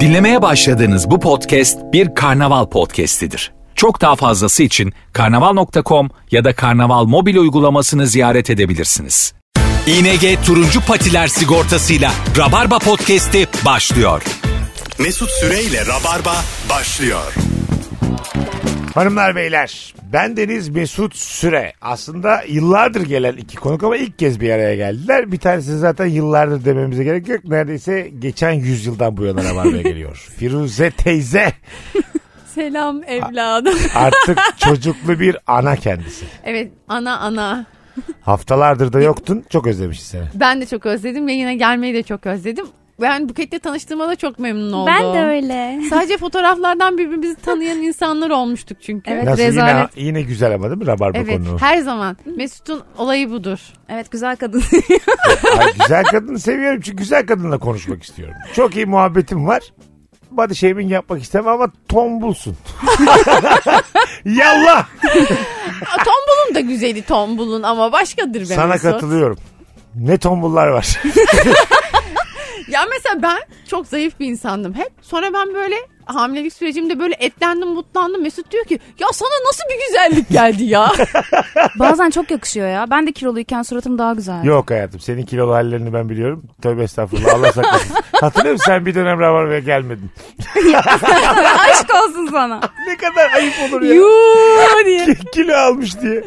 Dinlemeye başladığınız bu podcast bir karnaval podcastidir. Çok daha fazlası için karnaval.com ya da karnaval mobil uygulamasını ziyaret edebilirsiniz. ING Turuncu Patiler Sigortası'yla Rabarba Podcast'i başlıyor. Mesut Süreyle Rabarba başlıyor. Hanımlar beyler ben Deniz Mesut Süre. Aslında yıllardır gelen iki konuk ama ilk kez bir araya geldiler. Bir tanesi zaten yıllardır dememize gerek yok. Neredeyse geçen yüzyıldan bu yana Rabarba'ya geliyor. Firuze teyze Selam evladım. artık çocuklu bir ana kendisi. evet ana ana. Haftalardır da yoktun çok özlemişiz seni. Ben de çok özledim ve yine gelmeyi de çok özledim. Ben Buket'le tanıştığıma da çok memnun oldum. Ben de öyle. Sadece fotoğraflardan birbirimizi tanıyan insanlar olmuştuk çünkü. Evet, Nasıl yine, rezalet. yine güzel ama değil mi Rabarba Evet konu? her zaman Mesut'un olayı budur. Evet güzel kadın. Ay, güzel kadını seviyorum çünkü güzel kadınla konuşmak istiyorum. Çok iyi muhabbetim var. Body shaming yapmak istemem ama tombulsun. Yallah. Aa, tombulun da güzeli tombulun ama başkadır be Sana Mesut. katılıyorum. Ne tombullar var. Ya mesela ben çok zayıf bir insandım hep. Sonra ben böyle hamilelik sürecimde böyle etlendim mutlandım. Mesut diyor ki ya sana nasıl bir güzellik geldi ya. Bazen çok yakışıyor ya. Ben de kiloluyken suratım daha güzel. Yok hayatım senin kilolu hallerini ben biliyorum. Tövbe estağfurullah Allah saklasın. Hatırlıyor musun sen bir dönem Rabarba'ya gelmedin. Aşk olsun sana. Ne kadar ayıp olur ya. Yuuu diye. Kilo almış diye.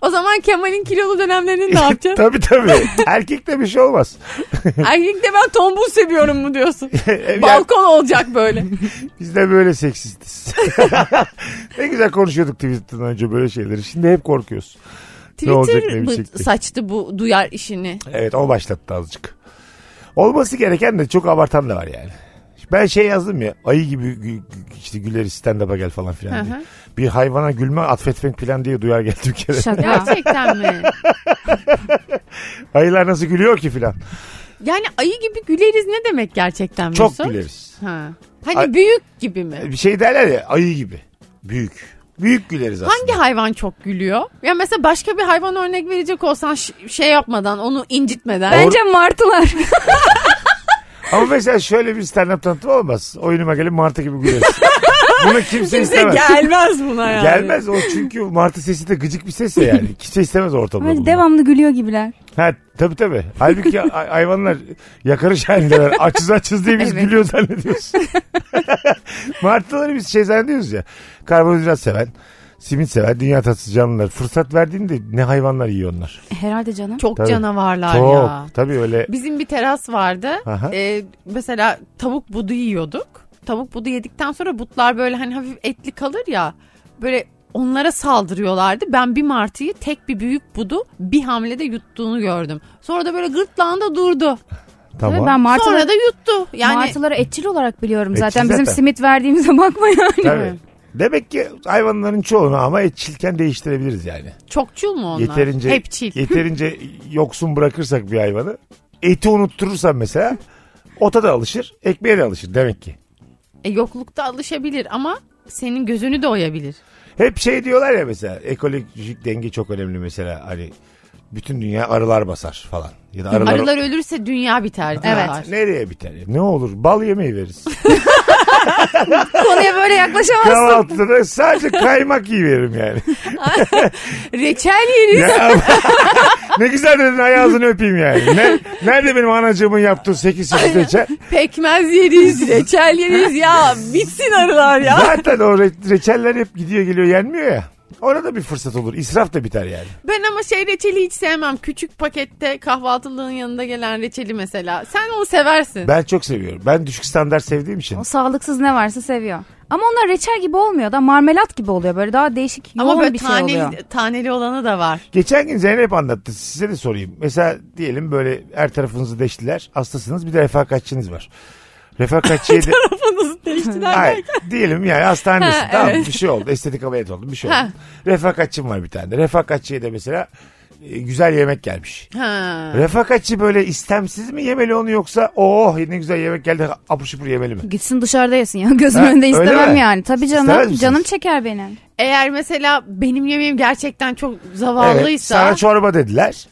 O zaman Kemal'in kilolu dönemlerini ne yapacaksın? tabii tabii. Erkekte bir şey olmaz. Erkekte ben tombul seviyorum mu diyorsun? Yani Balkon olacak böyle. Biz de böyle seksistiz. ne güzel konuşuyorduk Twitter'dan önce böyle şeyleri. Şimdi hep korkuyoruz. olacak, ne Twitter mı bitecek? saçtı bu duyar işini? Evet o başlattı azıcık. Olması gereken de çok abartan da var yani. Ben şey yazdım ya ayı gibi gü- gü- işte güleriz stand-up'a gel falan Hı filan diye. hı. Bir hayvana gülme atfetmek plan diye duyar geldi bir kere. Şaka. Gerçekten mi? Ayılar nasıl gülüyor ki filan. Yani ayı gibi güleriz ne demek gerçekten Çok Mesut? güleriz. Ha. Hani Ay- büyük gibi mi? Bir şey derler ya ayı gibi. Büyük. Büyük güleriz aslında. Hangi hayvan çok gülüyor? Ya mesela başka bir hayvan örnek verecek olsan ş- şey yapmadan onu incitmeden. Bence martılar. Ama mesela şöyle bir stand-up tanıtımı olmaz. Oyunuma gelin martı gibi güleriz. Bunu kimse, Kimse istemez. gelmez buna yani. Gelmez o çünkü martı sesi de gıcık bir ses ya yani. Kimse istemez ortamda. Böyle bunu. devamlı gülüyor gibiler. Ha tabii tabii. Halbuki hay- hayvanlar yakarış halindeler. Açız açız diye biz Evet. gülüyor zannediyoruz. Martıları biz şey zannediyoruz ya. Karbonhidrat seven, simit seven, dünya tatlısı canlılar. Fırsat verdiğinde ne hayvanlar yiyor onlar. E, Herhalde canım. Çok Tabii. canavarlar Çok. ya. Tabii öyle. Bizim bir teras vardı. Aha. Ee, mesela tavuk budu yiyorduk. Tavuk budu yedikten sonra butlar böyle hani hafif etli kalır ya. Böyle onlara saldırıyorlardı. Ben bir martıyı tek bir büyük budu bir hamlede yuttuğunu gördüm. Sonra da böyle gırtlağında durdu. Tabii Tamam. Ben martıları, Sonra da yuttu. Yani martıları etçil olarak biliyorum zaten. Etçil Bizim zaten. simit verdiğimize bakma yani. Tabii. Demek ki hayvanların çoğunu ama etçilken değiştirebiliriz yani. çokçul mu onlar? Yeterince Hepçil. yeterince yoksun bırakırsak bir hayvanı. Eti unutturursan mesela ota da alışır, ekmeğe de alışır demek ki. E, yoklukta alışabilir ama senin gözünü de oyabilir. Hep şey diyorlar ya mesela ekolojik denge çok önemli mesela hani bütün dünya arılar basar falan. Ya da arılar, Arılar ölürse dünya biter diyorlar. nereye biter? ya? Ne olur bal yemeği veririz. Konuya böyle yaklaşamazsın. Kahvaltıda da sadece kaymak iyi veririm yani. Reçel yeriz. Ya- ne güzel dedin ay ağzını öpeyim yani. Ne, nerede benim anacığımın yaptığı 8 8 reçel? Pekmez yeriz, reçel yeriz ya. Bitsin arılar ya. Zaten o re- reçeller hep gidiyor geliyor yenmiyor ya. Orada bir fırsat olur. İsraf da biter yani. Ben ama şey reçeli hiç sevmem. Küçük pakette kahvaltılığın yanında gelen reçeli mesela. Sen onu seversin. Ben çok seviyorum. Ben düşük standart sevdiğim için. O sağlıksız ne varsa seviyor. Ama onlar reçel gibi olmuyor da marmelat gibi oluyor. Böyle daha değişik yoğun ama böyle bir şey taneli, oluyor. taneli olanı da var. Geçen gün Zeynep anlattı. Size de sorayım. Mesela diyelim böyle her tarafınızı deştiler. Hastasınız bir de refakatçiniz var. Refakatçiye de... Kafanızı değiştiler. Hayır, diyelim yani hastanedesin. Ha, tamam evet. bir şey oldu. Estetik ameliyat oldu. Bir şey oldu. Ha. Refakatçim var bir tane de. Refakatçiye de mesela e, güzel yemek gelmiş. ha. Refakatçi böyle istemsiz mi yemeli onu yoksa oh ne güzel yemek geldi apır şupur yemeli mi? Gitsin dışarıda yesin ya. Gözümün Ha, önünde öyle istemem mi? yani. Tabii İstemez canım. misiniz? Canım çeker benim. Eğer mesela benim yemeğim gerçekten çok Evet, zavallıysa. sana çorba dediler.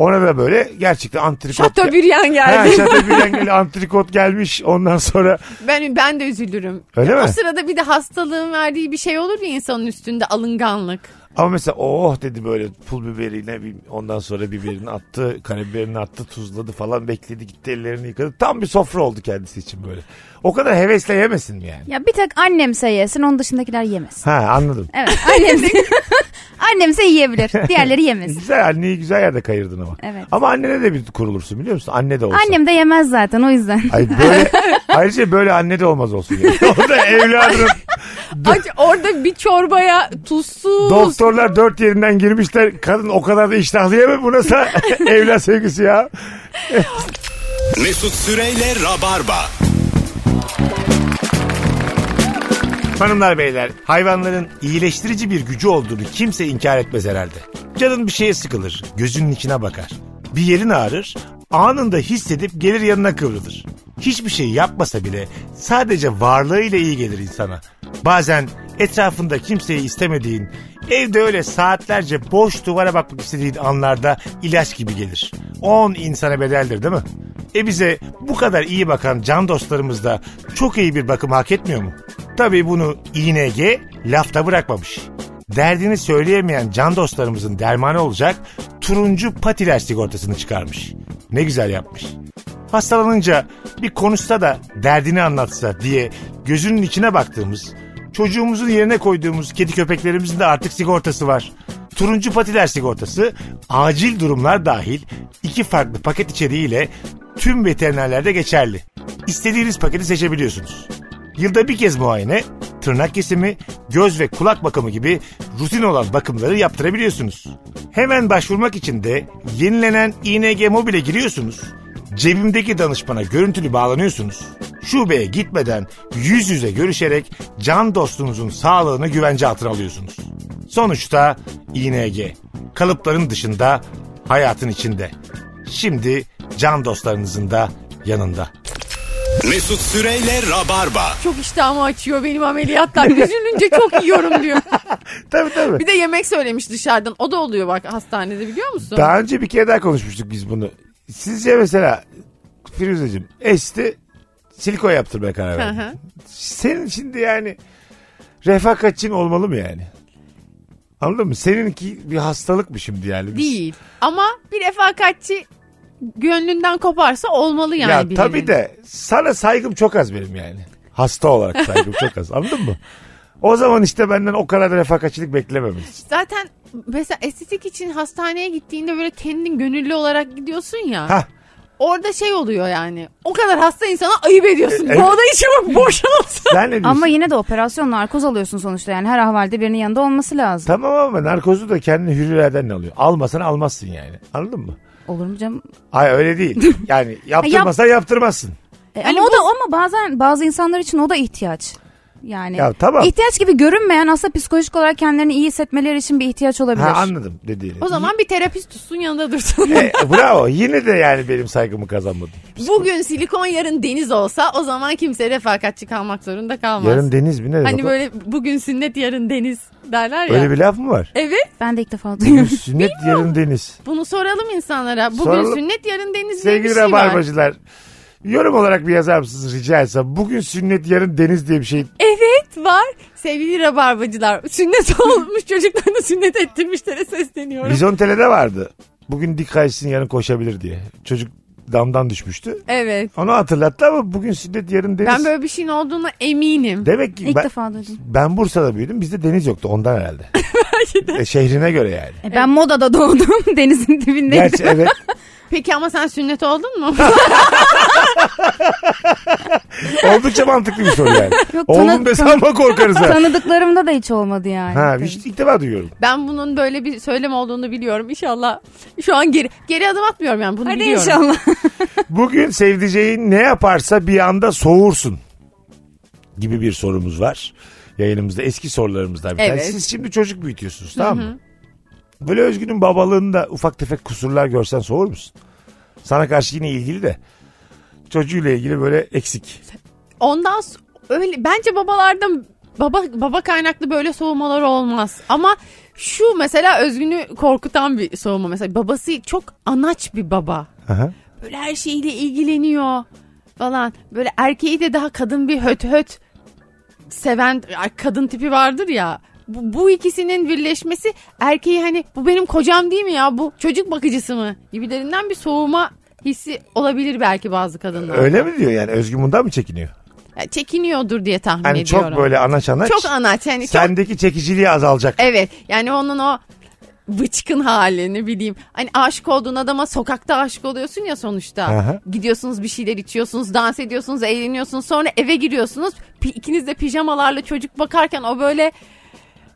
Ona da böyle gerçekten antrikot. Şato bir yan Ha, geldi. Şatöbriyen geldi antrikot gelmiş ondan sonra ben ben de üzülürüm. Öyle o mi? sırada bir de hastalığın verdiği bir şey olur ya insanın üstünde alınganlık. ama mesela oh dedi böyle pul biberiyle bir- ondan sonra biberini attı karabiberini attı tuzladı falan bekledi gitti ellerini yıkadı tam bir sofra oldu kendisi için böyle o kadar hevesle yemesin mi yani Ya bir tek annemse yesin onun dışındakiler yemesin. ha anladım Evet annemse, annemse yiyebilir diğerleri yemesin. güzel anneyi güzel yerde kayırdın ama Evet. ama annene de bir kurulursun biliyor musun anne de olsa Annem de yemez zaten o yüzden. Ay böyle, ayrıca böyle anne de olmaz olsun. Yani. O da evladının Ac orada bir çorbaya tuzsuz. Doktorlar dört yerinden girmişler. Kadın o kadar da iştahlı yeme bu nasıl evlat sevgisi ya. Mesut Süreyle Rabarba. Hanımlar beyler hayvanların iyileştirici bir gücü olduğunu kimse inkar etmez herhalde. Canın bir şeye sıkılır. Gözünün içine bakar. Bir yerin ağrır. Anında hissedip gelir yanına kıvrılır. Hiçbir şey yapmasa bile sadece varlığıyla iyi gelir insana. Bazen etrafında kimseyi istemediğin, evde öyle saatlerce boş duvara bakmak istediğin anlarda ilaç gibi gelir. 10 insana bedeldir değil mi? E bize bu kadar iyi bakan can dostlarımız da çok iyi bir bakım hak etmiyor mu? Tabii bunu ING lafta bırakmamış. Derdini söyleyemeyen can dostlarımızın dermanı olacak turuncu patiler sigortasını çıkarmış. Ne güzel yapmış. Hastalanınca bir konuşsa da derdini anlatsa diye gözünün içine baktığımız, çocuğumuzun yerine koyduğumuz kedi köpeklerimizin de artık sigortası var. Turuncu patiler sigortası acil durumlar dahil iki farklı paket içeriğiyle tüm veterinerlerde geçerli. İstediğiniz paketi seçebiliyorsunuz. Yılda bir kez muayene, tırnak kesimi, göz ve kulak bakımı gibi rutin olan bakımları yaptırabiliyorsunuz. Hemen başvurmak için de yenilenen ING Mobil'e giriyorsunuz. Cebimdeki danışmana görüntülü bağlanıyorsunuz. Şubeye gitmeden yüz yüze görüşerek can dostunuzun sağlığını güvence altına alıyorsunuz. Sonuçta ING. Kalıpların dışında, hayatın içinde. Şimdi can dostlarınızın da yanında. Mesut Süreyle Rabarba. Çok iştahımı açıyor benim ameliyatlar. Üzülünce çok yiyorum diyor. Tabii tabii. Bir de yemek söylemiş dışarıdan. O da oluyor bak hastanede biliyor musun? Daha önce bir kere daha konuşmuştuk biz bunu. Sizce mesela Firuzeciğim esti silikon yaptırmaya karar Hı verdin. hı. Senin şimdi yani refakatçin olmalı mı yani? Anladın mı? Seninki bir hastalık mı şimdi yani? Biz- Değil. Ama bir refakatçi gönlünden koparsa olmalı yani ya birinin. tabii de sana saygım çok az benim yani. Hasta olarak saygım çok az. Anladın mı? O zaman işte benden o kadar da refakatçilik beklememelisin. Zaten mesela estetik için hastaneye gittiğinde böyle kendin gönüllü olarak gidiyorsun ya. Hah. Orada şey oluyor yani. O kadar hasta insana ayıp ediyorsun. evet. Bu oda içimi boşalt. Sen ne diyorsun? Ama yine de operasyon narkoz alıyorsun sonuçta yani her ahvalde birinin yanında olması lazım. Tamam ama narkozu da kendini hür iradenle alıyor. Almasan almazsın yani. Anladın mı? Olur mu canım? Hayır öyle değil. Yani yaptırmasan yaptırmazsın. E, Yani ama o bu- da ama bazen bazı insanlar için o da ihtiyaç. Yani Ya tamam. ihtiyaç gibi görünmeyen aslında psikolojik olarak kendilerini iyi hissetmeleri için bir ihtiyaç olabilir. Ha anladım dediğini. O zaman bir terapist tutsun yanında dursun. E, bravo. Yine de yani benim saygımı kazanmadın. Bugün silikon yarın deniz olsa o zaman kimse refakatçi kalmak zorunda kalmaz. Yarın deniz mi ne demek? hani o? böyle bugün sünnet yarın deniz derler ya. Öyle bir laf mı var? Evet. Ben de ilk defa duyuyorum. Sünnet yarın deniz. Bunu soralım insanlara. Bugün Soralım. sünnet yarın deniz diye bir Sevgili şey var. rabarbacılar. Yorum olarak bir yazar mısınız rica etsem? Bugün sünnet yarın deniz diye bir şey. Evet var. Sevgili rabarbacılar. Sünnet olmuş çocuklarını sünnet ettirmişlere sesleniyorum. Vizontele'de vardı. Bugün dik kayışsın yarın koşabilir diye. Çocuk damdan düşmüştü. Evet. Onu hatırlattı ama bugün sünnet yarın deniz. Ben böyle bir şeyin olduğuna eminim. Demek ki İlk ben, defa duydum. ben Bursa'da büyüdüm. Bizde deniz yoktu ondan herhalde. E, şehrine göre yani. E, ben Moda'da doğdum denizin dibinde. Gerçi evet. Peki ama sen sünnet oldun mu? Oldukça mantıklı bir soru yani. Yok, Oğlum tanı- desem ama korkarız ha. Tanıdıklarımda da hiç olmadı yani. Ha, Tabii. hiç ilk defa duyuyorum. ben bunun böyle bir söylem olduğunu biliyorum. İnşallah şu an geri geri adım atmıyorum yani bunu Hadi biliyorum. inşallah. Bugün sevdiceğin ne yaparsa bir anda soğursun gibi bir sorumuz var. Yayınımızda eski sorularımızdan bir tanesi. Evet. Siz şimdi çocuk büyütüyorsunuz tamam mı? Böyle Özgün'ün babalığında ufak tefek kusurlar görsen soğur musun? Sana karşı yine ilgili de çocuğuyla ilgili böyle eksik. Ondan s- öyle bence babalarda Baba baba kaynaklı böyle soğumalar olmaz. Ama şu mesela Özgün'ü korkutan bir soğuma mesela. Babası çok anaç bir baba. Aha. Böyle her şeyle ilgileniyor falan. Böyle erkeği de daha kadın bir höt höt seven kadın tipi vardır ya. Bu, bu ikisinin birleşmesi erkeği hani bu benim kocam değil mi ya bu çocuk bakıcısı mı gibilerinden bir soğuma hissi olabilir belki bazı kadınlar. Öyle mi diyor yani? Özgün bundan mı çekiniyor? çekiniyordur diye tahmin Hani çok ediyorum. böyle anaç anaç. Çok anaç yani çok Sendeki çekiciliği azalacak. Evet yani onun o bıçkın halini bileyim. Hani aşık olduğun adama sokakta aşık oluyorsun ya sonuçta. Aha. Gidiyorsunuz bir şeyler içiyorsunuz, dans ediyorsunuz, eğleniyorsunuz. Sonra eve giriyorsunuz. Pi- ikiniz de pijamalarla çocuk bakarken o böyle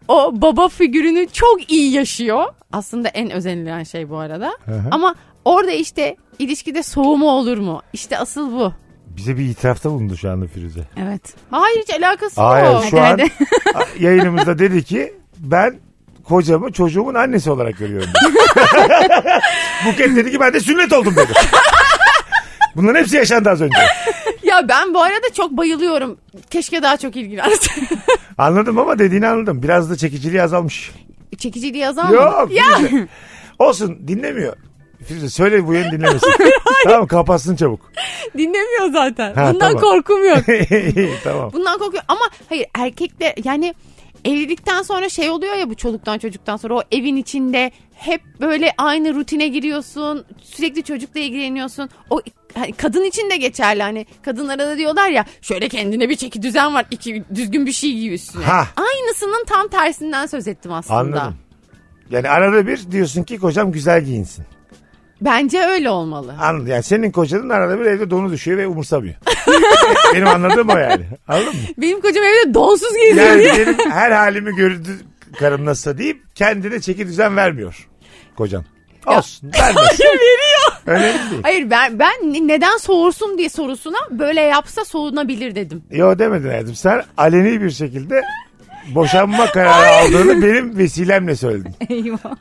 o baba figürünü çok iyi yaşıyor. Aslında en özenilen şey bu arada. Ama orada işte ilişkide soğuma olur mu? İşte asıl bu. Bize bir itirafta bulundu şu anda Firuze. Evet. Hayır hiç alakası Hayır yok. şu an hadi. yayınımızda dedi ki ben kocamı çocuğumun annesi olarak görüyorum. Buket dedi ki ben de sünnet oldum dedi. Bunların hepsi yaşandı az önce. Ya ben bu arada çok bayılıyorum. Keşke daha çok ilgilensin. Anladım ama dediğini anladım. Biraz da çekiciliği azalmış. Çekiciliği yazan Yok. Firuze. Olsun dinlemiyor. Firuze söyle bu yayını dinlemesin. tamam kapatsın çabuk. Dinlemiyor zaten. Ha, Bundan tamam. korkum yok. tamam. Bundan korkuyor ama hayır erkekler yani evlilikten sonra şey oluyor ya bu çoluktan çocuktan sonra o evin içinde hep böyle aynı rutine giriyorsun. Sürekli çocukla ilgileniyorsun. O hani kadın için de geçerli hani kadınlara da diyorlar ya şöyle kendine bir çeki düzen var iki düzgün bir şey giy üstüne. Ha. Aynısının tam tersinden söz ettim aslında. Anladım. Yani arada bir diyorsun ki kocam güzel giyinsin. Bence öyle olmalı. Anladım. Yani senin kocanın arada bir evde donu düşüyor ve umursamıyor. Benim anladığım o yani. Anladın mı? Benim kocam evde donsuz geziyor Yani diye. benim her halimi gördü karım nasılsa deyip kendine çeki düzen vermiyor kocan. Olsun. Vermez. Veriyor. Önemli değil. Hayır ben, ben ne- neden soğursun diye sorusuna böyle yapsa soğunabilir dedim. Yo demedin hayatım. Sen aleni bir şekilde boşanma kararı aldığını benim vesilemle söyledin. Eyvah.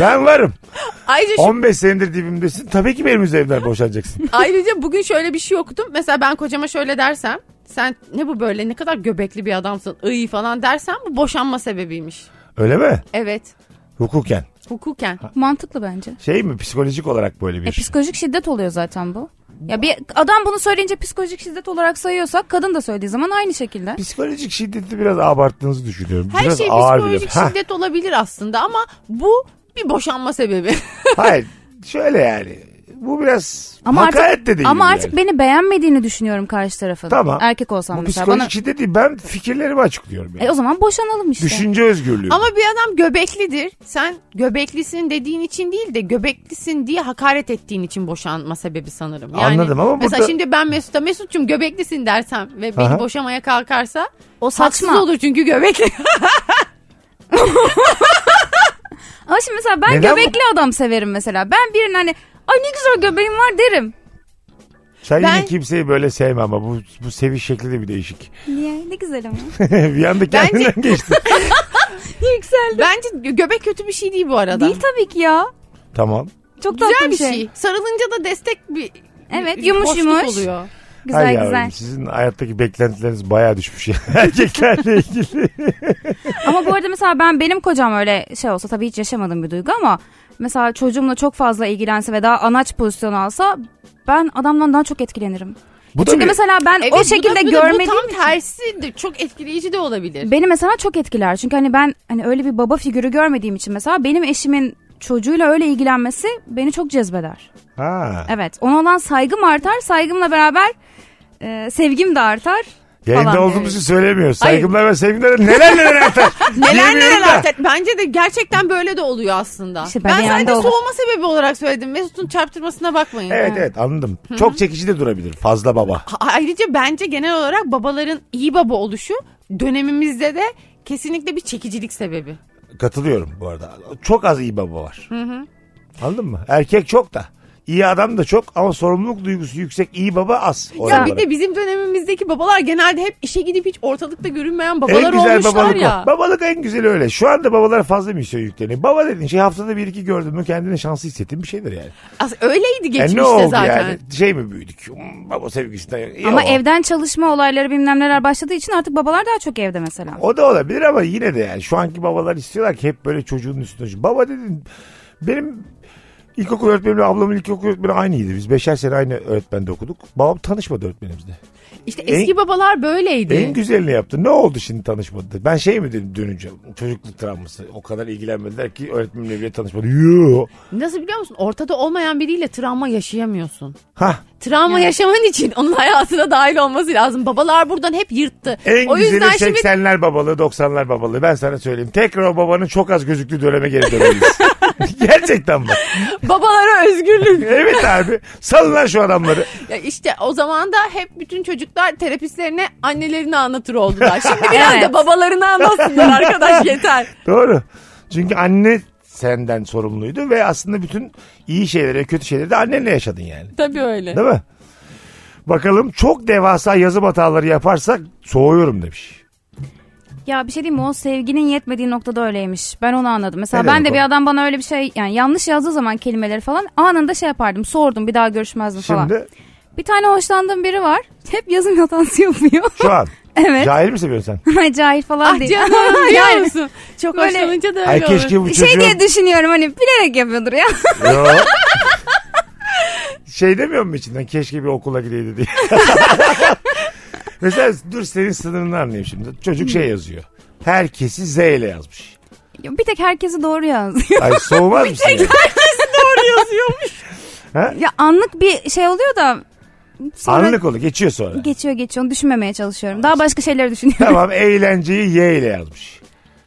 Ben varım. Ayrıca, şu- 15 senedir dibimdesin. Tabii ki benim üzerimden boşanacaksın. ayrıca bugün şöyle bir şey okudum. Mesela ben kocama şöyle dersem sen ne bu böyle ne kadar göbekli bir adamsın iyi falan dersem bu boşanma sebebiymiş. Öyle mi? Evet Hukuken. hukuken. Mantıklı bence. Şey mi psikolojik olarak böyle E, bir. psikolojik şiddet oluyor zaten bu. Ya bir adam bunu söyleyince psikolojik şiddet olarak sayıyorsak kadın da söylediği zaman aynı şekilde. Psikolojik şiddeti biraz abarttığınızı düşünüyorum. Her biraz şey ağır psikolojik bile. Ha, şiddet olabilir aslında ama bu bir boşanma sebebi. hayır şöyle yani. Bu biraz Ama hakaret artık de değil. ama yani. artık beni beğenmediğini düşünüyorum karşı tarafın. Tamam. Erkek olsam Bu mesela psikolojik bana şiddet değil. Ben fikirlerimi açıklıyorum. Yani. E o zaman boşanalım işte. Düşünce özgürlüğü. ama bir adam göbeklidir. Sen göbeklisin dediğin için değil de göbeklisin diye hakaret ettiğin için boşanma sebebi sanırım. Yani Anladım ama mesela burada- şimdi ben Mesut'a Mesut'cum göbeklisin dersem ve beni Aha. boşamaya kalkarsa O Haksız saçma. olur çünkü göbekli. Ama şimdi mesela ben Neden bu- göbekli adam severim mesela. Ben birinin hani ay ne güzel göbeğim var derim. Sen Ben- yine kimseyi böyle sevme ama bu, bu seviş şekli de bir değişik. Niye? Ne güzel ama. bir anda kendinden geçti. Yükseldi. Bence gö- göbek kötü bir şey değil bu arada. Değil tabii ki ya. Tamam. Çok tatlı Güzel bir şey. Sarılınca da destek bir Evet, bir yumuş hoşluk yumuş. oluyor. Güzel Hay güzel. yavrum, sizin hayattaki beklentileriniz bayağı düşmüş ya. Erkeklerle ilgili. Ama bu arada mesela ben benim kocam öyle şey olsa tabii hiç yaşamadım bir duygu ama mesela çocuğumla çok fazla ilgilense ve daha anaç pozisyon alsa ben adamdan daha çok etkilenirim. Bu da Çünkü bir- mesela ben Evet, bu o da- şekilde bu da- görmediğim Bu tam için- tersi de çok etkileyici de olabilir. Beni mesela çok etkiler. Çünkü hani ben hani öyle bir baba figürü görmediğim için mesela benim eşimin çocuğuyla öyle ilgilenmesi beni çok cezbeder. Ha. Evet. Ona olan saygım artar. Saygımla beraber e, sevgim de artar. Yayında falan. olduğumuz için söylemiyor. Hayır. Saygımla ve sevgimle neler neler artar. Neler Diyemiyorum neler da. artar. Bence de gerçekten böyle de oluyor aslında. İşte ben ben yani sadece de olur. soğuma sebebi olarak söyledim. Mesut'un çarptırmasına bakmayın. Evet evet anladım. Çok çekici de durabilir. Fazla baba. A- Ayrıca bence genel olarak babaların iyi baba oluşu dönemimizde de kesinlikle bir çekicilik sebebi. Katılıyorum bu arada. Çok az iyi baba var. Anladın mı? Erkek çok da. İyi adam da çok ama sorumluluk duygusu yüksek iyi baba az. oran Ya bir olarak. de bizim dönemimizdeki babalar genelde hep işe gidip hiç ortalıkta görünmeyen en babalar güzel olmuşlar babalık ya. o. Babalık en güzeli öyle. Şu anda babalar fazla misyon yükleniyor. Baba dediğin şey haftada bir iki gördün mü kendini şanslı hissettiğin bir şeydir yani. As- öyleydi E geçmişte ne oldu zaten. yani? Şey mi büyüdük? Hmm, Baba sevgisinden. İyi Ama evden çalışma olayları bilmem neler başladığı için artık babalar daha çok evde mesela. O da olabilir ama yine de yani şu anki babalar istiyorlar ki hep böyle çocuğun üstüne. çocuğun. Baba dedin benim ilkokul öğretmenimle ablamın ilkokul öğretmeni aynıydı. Biz beşer sene aynı öğretmende okuduk. Babam tanışmadı öğretmenimizle. İşte En- eski babalar böyleydi. En güzelini yaptı. Ne oldu şimdi tanışmadı? Ben şey mi dedim dönünce çocukluk travması. O kadar ilgilenmediler ki öğretmenimle bile tanışmadı. Yoo. Nasıl biliyor musun? Ortada olmayan biriyle travma yaşayamıyorsun. Hah. Travma yaşaman için onun hayatına dahil olması lazım. Babalar buradan hep yırttı. En o güzeli yüzden şimdi 80'ler babalığı 90'lar babalığı. Ben sana söyleyeyim. Tekrar o babanın çok az gözüktüğü döneme geri döneriz. Gerçekten bak. babalara özgürlük. Evet abi. Salın lan şu adamları. ya işte o zaman da hep bütün çocuklar terapistlerine annelerini anlatır oldular. Şimdi biraz da Evet. babalarını anlatsınlar arkadaş yeter. Doğru. Çünkü anne senden sorumluydu ve aslında bütün iyi şeyleri, kötü şeyleri de annenle yaşadın yani. Tabii öyle. Değil mi? Bakalım çok devasa yazım hataları yaparsak soğuyorum demiş. Ya bir şey diyeyim mi? O sevginin yetmediği noktada öyleymiş. Ben onu anladım. Mesela Ne demek ben de o? bir adam bana öyle bir şey yani yanlış yazdığı zaman kelimeleri falan anında şey yapardım. Sordum bir daha görüşmezdim falan. Şimdi Bir tane hoşlandığım biri var. Hep yazım hatası yapıyor. şu an. evet. Cahil mi seviyorsun sen? Cahil falan Ah değil. canım biliyor Yani musun? Çok Böyle- hoşlanınca da öyle Ay keşke olur. bu Şey çocuğun... diye düşünüyorum hani bilerek yapıyordur ya. Yo. şey demiyor mu içinden keşke bir okula gideydi diye. Mesela dur senin sınırını anlayayım şimdi. Çocuk şey yazıyor. Herkesi Z ile yazmış. Ya bir tek herkesi doğru yazıyor. Ay soğumaz mısın? ya? Doğru yazıyormuş. ya anlık bir şey oluyor da sonra Anlık olur geçiyor sonra. geçiyor geçiyor onu düşünmemeye çalışıyorum. Daha başka şeyleri düşünüyorum. Tamam eğlenceyi Y ile yazmış.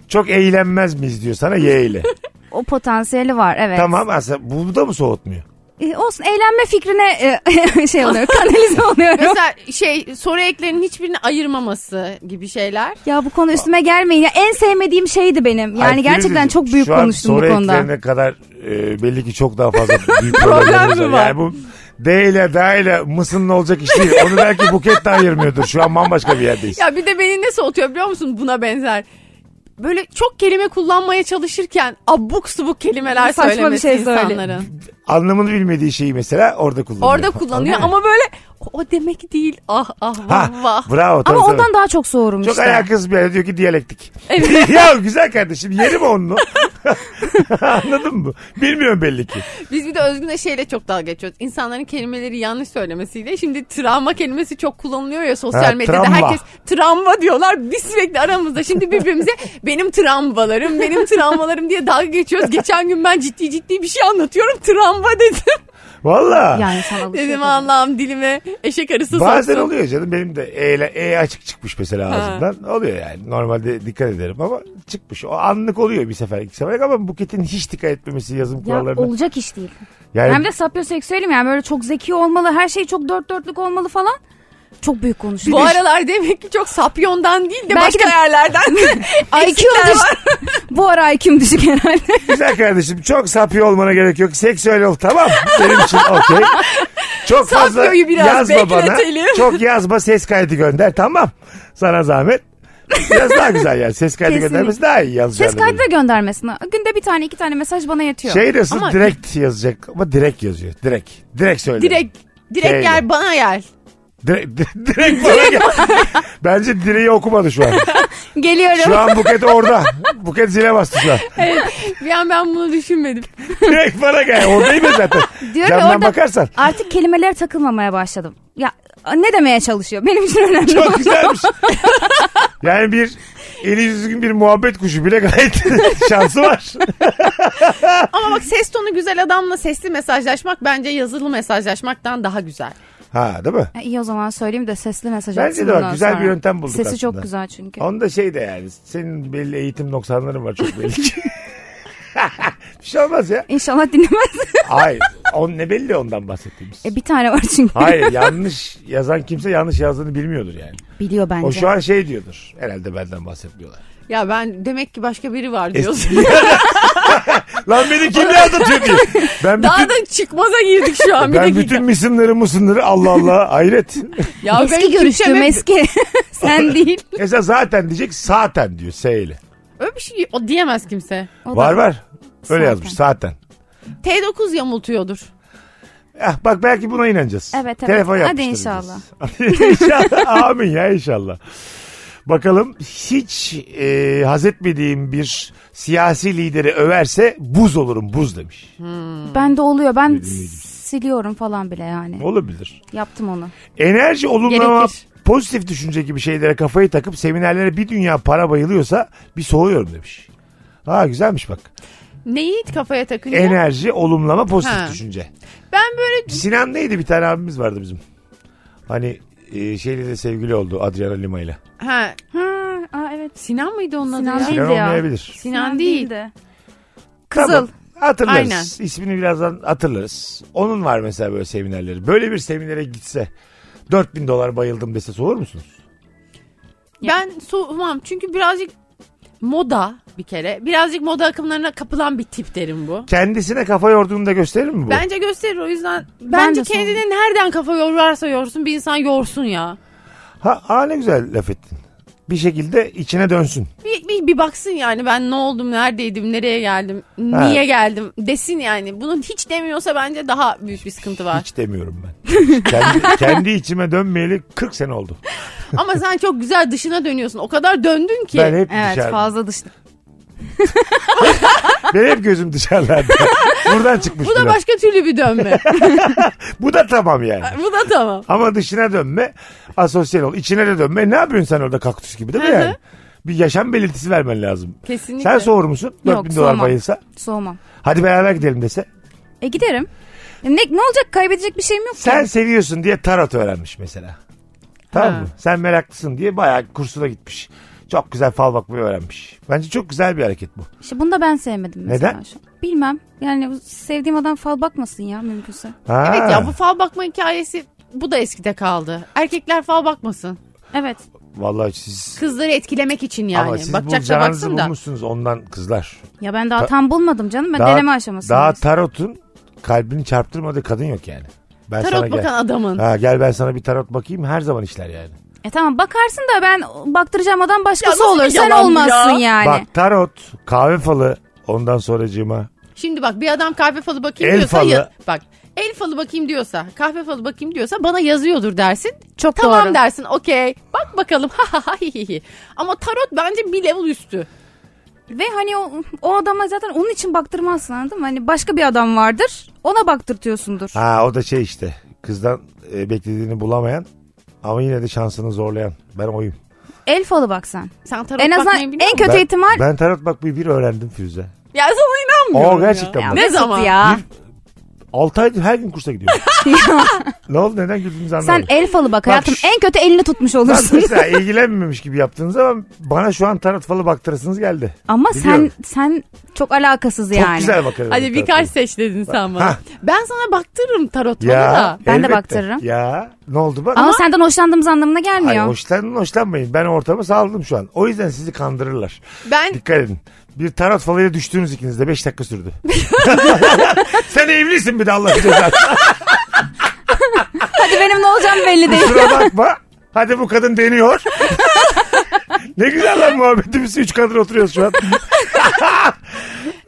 Çok eğlenmez miyiz diyor sana Y ile. O potansiyeli var evet. Tamam aslında bu da mı soğutmuyor? E, olsun eğlenme fikrine e, şey oluyor kanalize oluyorum. Mesela şey soru eklerinin hiçbirini ayırmaması gibi şeyler. Ya bu konu üstüme gelmeyin. Ya en sevmediğim şeydi benim. Yani Ay, gerçekten Firuzeciğim, çok büyük şu an konuştum bu konuda. Soru eklerine kadar e, belli ki çok daha fazla büyük problemimiz var. mi var? Yani bu D ile D ile mısınla olacak iş değil. Onu belki buket de ayırmıyordur. Şu an bambaşka bir yerdeyiz. Ya bir de beni ne soğutuyor biliyor musun buna benzer? Böyle çok kelime kullanmaya çalışırken abuk subuk kelimeler Saçma bir söylemesi şey söyle. insanların. Anlamını bilmediği şeyi mesela orada kullanıyor. Orada kullanıyor Anladın mı? ama böyle o, o demek değil. Ah ah Ha, vah vah. bravo. Tabii, Ama tabii. ondan daha çok soğurum çok işte. alakasız bir yerde diyor ki diyalektik. Evet. ya güzel kardeşim yeri mi onu? Anladın mı? Bilmiyorum belli ki. Biz bir de Özgün'le şeyle çok dalga geçiyoruz. İnsanların kelimeleri yanlış söylemesiyle. Şimdi travma kelimesi çok kullanılıyor ya sosyal Ha, medyada. travma. Herkes travma diyorlar. Biz sürekli aramızda. Şimdi birbirimize benim travmalarım, benim travmalarım diye dalga geçiyoruz. Geçen gün ben ciddi ciddi bir şey anlatıyorum. Travma dedim. Valla. Yani sana şey- alışıyor Dedim tabii. Allah'ım dilime eşek arısı Şey Bazen soksun. oluyor canım benim de E, ile- e açık çıkmış mesela Ha. ağzımdan. Oluyor yani normalde dikkat ederim ama çıkmış. O anlık oluyor bir sefer iki sefer ama Buket'in hiç dikkat etmemesi yazım Ya kurallarına. olacak iş değil. yani Hem de sapyoseksüelim yani böyle çok zeki olmalı, her şey çok dört dörtlük olmalı falan. Çok büyük konuşuyor. Bu aralar demek ki çok sapyondan değil de Belki başka de- yerlerden. IQ eksikler var. düşük. Bu ara IQ'm düşük herhalde. güzel kardeşim çok sapıyor olmana gerek yok. Seksüel ol tamam benim için okey. Çok fazla Sapyoyu biraz yazma bana. bekletelim. Çok yazma ses kaydı gönder tamam. Sana zahmet. Biraz daha güzel yani. Ses kaydı Kesinlikle. göndermesi daha iyi yazacağını. Ses kaydı da biliyorum. göndermesin. Günde bir tane iki tane mesaj bana yetiyor. Şey nasıl Ama- direkt yazacak ama direkt yazıyor. Direkt. Direkt söyle. direkt direkt Şeyle. gel bana gel. Direkt, direkt bana gel. Bence direği okumadı şu an. Geliyorum. Şu an Buket orada. Buket zile bastı şu an. Bir an ben bunu düşünmedim. Direkt bana gel. Oradayım ya zaten. Diyor ki Camdan orada- bakarsan. Artık kelimelere takılmamaya başladım. Ya ne demeye çalışıyor? Benim için önemli. olan- Çok güzelmiş. Yani bir eli düzgün bir muhabbet kuşu bile gayet şansı var. Ama bak ses tonu güzel adamla sesli mesajlaşmak bence yazılı mesajlaşmaktan daha güzel. Ha değil mi? Ha, İyi o zaman söyleyeyim de sesli mesaj Bence atsın de bak, bundan güzel bir sonra. yöntem bulduk Sesi aslında. çok güzel çünkü. Onda şey de yani senin belli eğitim noksanların var çok belli ki. bir şey olmaz ya. İnşallah dinlemez. Hayır. On, ne belli ondan bahsettiğimiz. e, bir tane var çünkü. Hayır yanlış yazan kimse yanlış yazdığını bilmiyordur yani. Biliyor bence. O şu an şey diyordur. Herhalde benden bahsetmiyorlar. Ya ben demek ki başka biri var diyorsun. Lan beni kim ne anlatıyor diye. Ben Daha bütün, da çıkmaza girdik şu an bir ben dakika. bütün misimleri mısınları Allah Allah hayret. Ya benim Eski Türkçem görüştüm hep- eski. Sen değil. Mesela zaten diyecek zaten diyor seyle. Öyle bir şey o diyemez kimse. O da- Var var. Öyle Zaten. yazmış zaten. T9 yamultuyordur. Ah, bak belki buna inanacağız. Evet, evet. Telefon Hadi yapmıştır inşallah. bize. inşallah. Amin ya inşallah. Bakalım hiç e, haz etmediğim bir siyasi lideri överse buz olurum buz demiş. Bende oluyor. Ben siliyorum falan bile yani. Olabilir. Yaptım onu. Enerji olumlama Gerekir. pozitif düşünce gibi şeylere kafayı takıp seminerlere bir dünya para bayılıyorsa bir soğuyorum demiş. Ha güzelmiş bak. Neyi kafaya takınca? Enerji, olumlama, pozitif Ha. düşünce. Ben böyle Sinan neydi bir tane abimiz vardı bizim. Hani e, şeyle de sevgili oldu Adriana Lima ile. ha Ha, aa, evet. Sinan mıydı onun adı Sinan ya? Sinan, Sinan değil. Neydi ya? olmayabilir. değil. değildi. Kızıl. Tamam, hatırlarız. Aynen. İsmini birazdan hatırlarız. Onun var mesela böyle seminerleri. Böyle bir seminere gitse 4000 dolar bayıldım dese soğur musunuz? Ben soğumam çünkü birazcık moda bir kere. Birazcık moda akımlarına kapılan bir tip derim bu. Kendisine kafa yorduğunu da gösterir mi bu? Bence gösterir o yüzden. Bence de soğumam. kendini nereden kafa yorarsa yorsun bir insan yorsun ya. Ha, aa ne güzel laf ettin. Bir şekilde içine dönsün. Bir, bir, bir baksın yani ben ne oldum, neredeydim, nereye geldim, niye geldim desin yani. Bunun hiç demiyorsa bence daha büyük bir sıkıntı var. Hiç demiyorum ben. kendi, kendi içime dönmeyeli 40 sene oldu. Ama sen çok güzel dışına dönüyorsun. O kadar döndün ki. Ben hep Evet dışarıda. fazla dış. Benim hep gözüm dışarıda. Buradan çıkmış. Bu da biraz. başka türlü bir dönme. Bu da tamam yani. Bu da tamam. Ama dışına dönme, asosyal ol. İçine de dönme. Ne yapıyorsun sen orada kaktüs gibi değil mi Hı hı. yani? Bir yaşam belirtisi vermen lazım. Kesinlikle. Sen soğur musun? 4000 dolar soğumam. bayılsa. Soğumam. Hadi beraber gidelim dese. E giderim. E, Ne, ne olacak kaybedecek bir şeyim yok. ki. Sen seviyorsun diye tarot öğrenmiş mesela. Tamam Ha. mı? Sen meraklısın diye bayağı kursuna gitmiş. Çok güzel fal bakmayı öğrenmiş. Bence çok güzel bir hareket bu. İşte bunu da ben sevmedim mesela. Neden? şu an. Bilmem. Yani sevdiğim adam fal bakmasın ya mümkünse. Ha. Evet ya bu fal bakma hikayesi bu da eskide kaldı. Erkekler fal bakmasın. Evet. Vallahi siz Kızları etkilemek için yani. ama siz Bakacaksa bulacağınızı baksın da. bulmuşsunuz ondan kızlar. Ya ben daha Ta- tam bulmadım canım. Ben Daha- deneme aşamasındayım. Daha tarotun kalbini çarptırmadığı kadın yok yani. Ben sana Tarot gel. bakan adamın. Ha, gel ben sana bir tarot bakayım her zaman işler yani. E tamam bakarsın da ben baktıracağım adam başkası Ya nasıl olur. bir Sen yalan bu olmazsın ya? yani. Bak tarot, kahve falı ondan sonracığıma. Şimdi bak bir adam kahve falı bakayım El diyorsa falı. ya- bak el falı bakayım diyorsa kahve falı bakayım diyorsa bana yazıyordur dersin. Çok Tamam doğru. dersin okey bak bakalım ha ha ha hi hi hi. Ama tarot bence bir level üstü. Ve hani o, o adama zaten onun için baktırmazsın anladın mı? Hani başka bir adam vardır. Ona baktırtıyorsundur. Ha o da şey işte kızdan e, beklediğini bulamayan ama yine de şansını zorlayan. Ben oyum. El falı bak sen. Sen tarot En azından bakmayı biliyor en musun? kötü ben, ihtimal. Ben tarot bakmayı bir öğrendim Firuze. Ya sana inanmıyorum Oo gerçekten ya. bak. Ne Mesut zaman? Ya. 6 aydır her gün kursa gidiyorum. ne oldu neden güldüğünüzü Sen anlamadım. el falı bak hayatım. şu- En kötü elini tutmuş Lan olursun. mesela ilgilenmemiş gibi yaptığınız zaman bana şu an tarot falı baktırasınız geldi. Ama Biliyorum. sen sen çok alakasız Çok yani. güzel bakarım. Hadi tarot birkaç seç dedin sen bana. Ha. Ben sana baktırırım tarot falı Ya, da. Ben de elbette. baktırırım. Ya ne oldu bak? Ama senden hoşlandığımız anlamına gelmiyor. Hayır hoşlanın hoşlanmayın. Ben ortamı sağladım şu an. O yüzden sizi kandırırlar. Ben Dikkat edin. Bir tarot falıyla düştüğünüz ikiniz de 5 dakika sürdü. Sen evlisin bir de Allah cezası. Hadi benim ne olacağım belli değil. Kusura bakma. Hadi bu kadın deniyor. ne güzel lan muhabbetimiz. Üç kadın oturuyoruz şu an.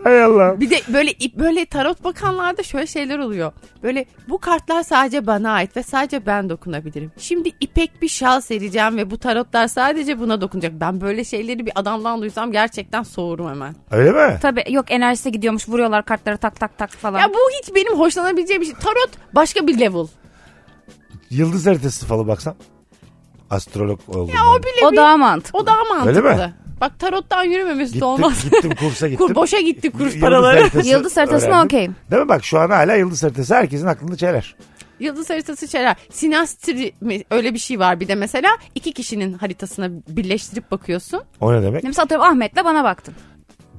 Hay Allah. Bir de böyle ip- böyle tarot bakanlarda şöyle şeyler oluyor. Böyle bu kartlar sadece bana ait ve sadece ben dokunabilirim. Şimdi ipek bir şal sereceğim ve bu tarotlar sadece buna dokunacak. Ben böyle şeyleri bir adamdan duysam gerçekten soğurum hemen. Öyle mi? Tabii yok enerjisi gidiyormuş vuruyorlar kartları tak tak tak falan. Ya bu hiç benim hoşlanabileceğim bir şey. Tarot başka bir level. Yıldız haritası falı baksam. Astrolog oldum. Ya o bile o bir- daha mantıklı. o daha mantıklı. Öyle mi? Bak tarottan yürümemesi Gittim, de olmaz. gittim kursa gittim. Kur boşa gitti kurs Yıldız paraları. haritası Yıldız haritasına öğrendim. okeyim. Değil mi bak şu an hala yıldız haritası herkesin aklında çeler. Yıldız haritası şeyler. Sinastri mi? öyle bir şey var bir de mesela iki kişinin haritasına birleştirip bakıyorsun. O ne demek? Mesela atıyorum Ahmet'le bana baktın.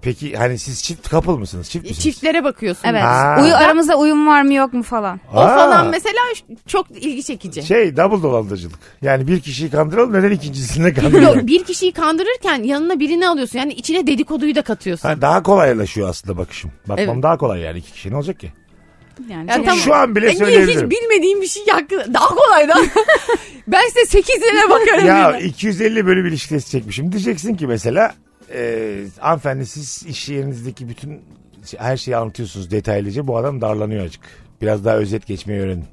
Peki hani siz çift kapıl mısınız? Çift misiniz? Çiftlere bakıyorsun. Evet. Ha. Uyu, aramızda uyum var mı yok mu falan. O Aa, falan mesela çok ilgi çekici. Şey double dolandırıcılık. Yani bir kişiyi kandıralım neden ikincisini de Yok, kandıralım? bir kişiyi kandırırken yanına birini alıyorsun. Yani içine dedikoduyu da katıyorsun. Ha, daha kolaylaşıyor aslında bakışım. Bakmam Evet. daha kolay yani iki kişi ne olacak ki? Yani Ya çok- tamam. Şu an bile E niye söyleyebilirim. hiç bilmediğim bir şey hakkında. Daha kolay da. ben size 8 lira bakarım. Ya Ya, 250 bölüm ilişkisi çekmişim. Diyeceksin ki mesela e, hanımefendi siz iş yerinizdeki bütün şey- her şeyi anlatıyorsunuz detaylıca. Bu adam darlanıyor açık. Biraz daha özet geçmeyi öğrenin.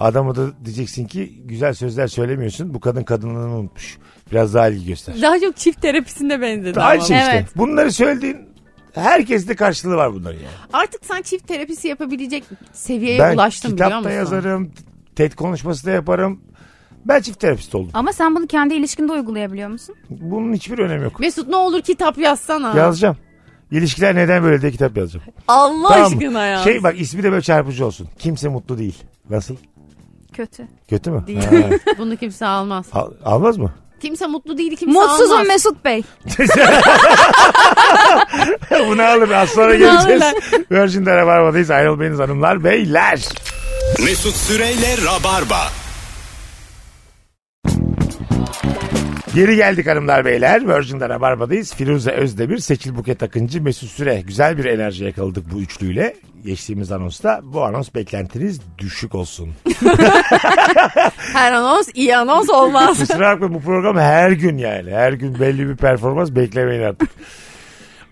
Adamı da diyeceksin ki güzel sözler söylemiyorsun. Bu kadın kadınlığını unutmuş. Biraz daha ilgi göster. Daha çok çift terapisinde benzedi. Aynı ama. şey işte. Evet. Bunları söylediğin herkeste karşılığı var bunların yani. Artık sen çift terapisi yapabilecek seviyeye ben ulaştın biliyor kitap da musun? yazarım. TED konuşması da yaparım. Ben çift terapist oldum. Ama sen bunu kendi ilişkinde uygulayabiliyor musun? Bunun hiçbir önemi yok. Mesut ne olur kitap yazsana. Yazacağım. İlişkiler neden böyle diye kitap yazacağım. Allah Tamam mı? aşkına ya. Şey bak ismi de böyle çarpıcı olsun. Kimse mutlu değil. Nasıl? Kötü. Kötü mü? Değil. Ha. Bunu kimse almaz. Al- almaz mı? Kimse mutlu değil kimse Mutsuzum almaz. Mesut Bey. Bunu alır. Az sonra Bunu geleceğiz. Virgin'de Rabarba'dayız. Ayrılmayınız hanımlar beyler. Mesut Süreyle Rabarba. Geri geldik hanımlar beyler. Virgin'de Rabarba'dayız. Firuze Özdemir, Seçil Buket Akıncı, Mesut Süre. Güzel bir enerji yakaladık bu üçlüyle. Geçtiğimiz anonsta bu anons beklentiniz düşük olsun. Her anons iyi anons olmaz. Kusura bakmayın bu program her gün yani. Her gün belli bir performans beklemeyin artık.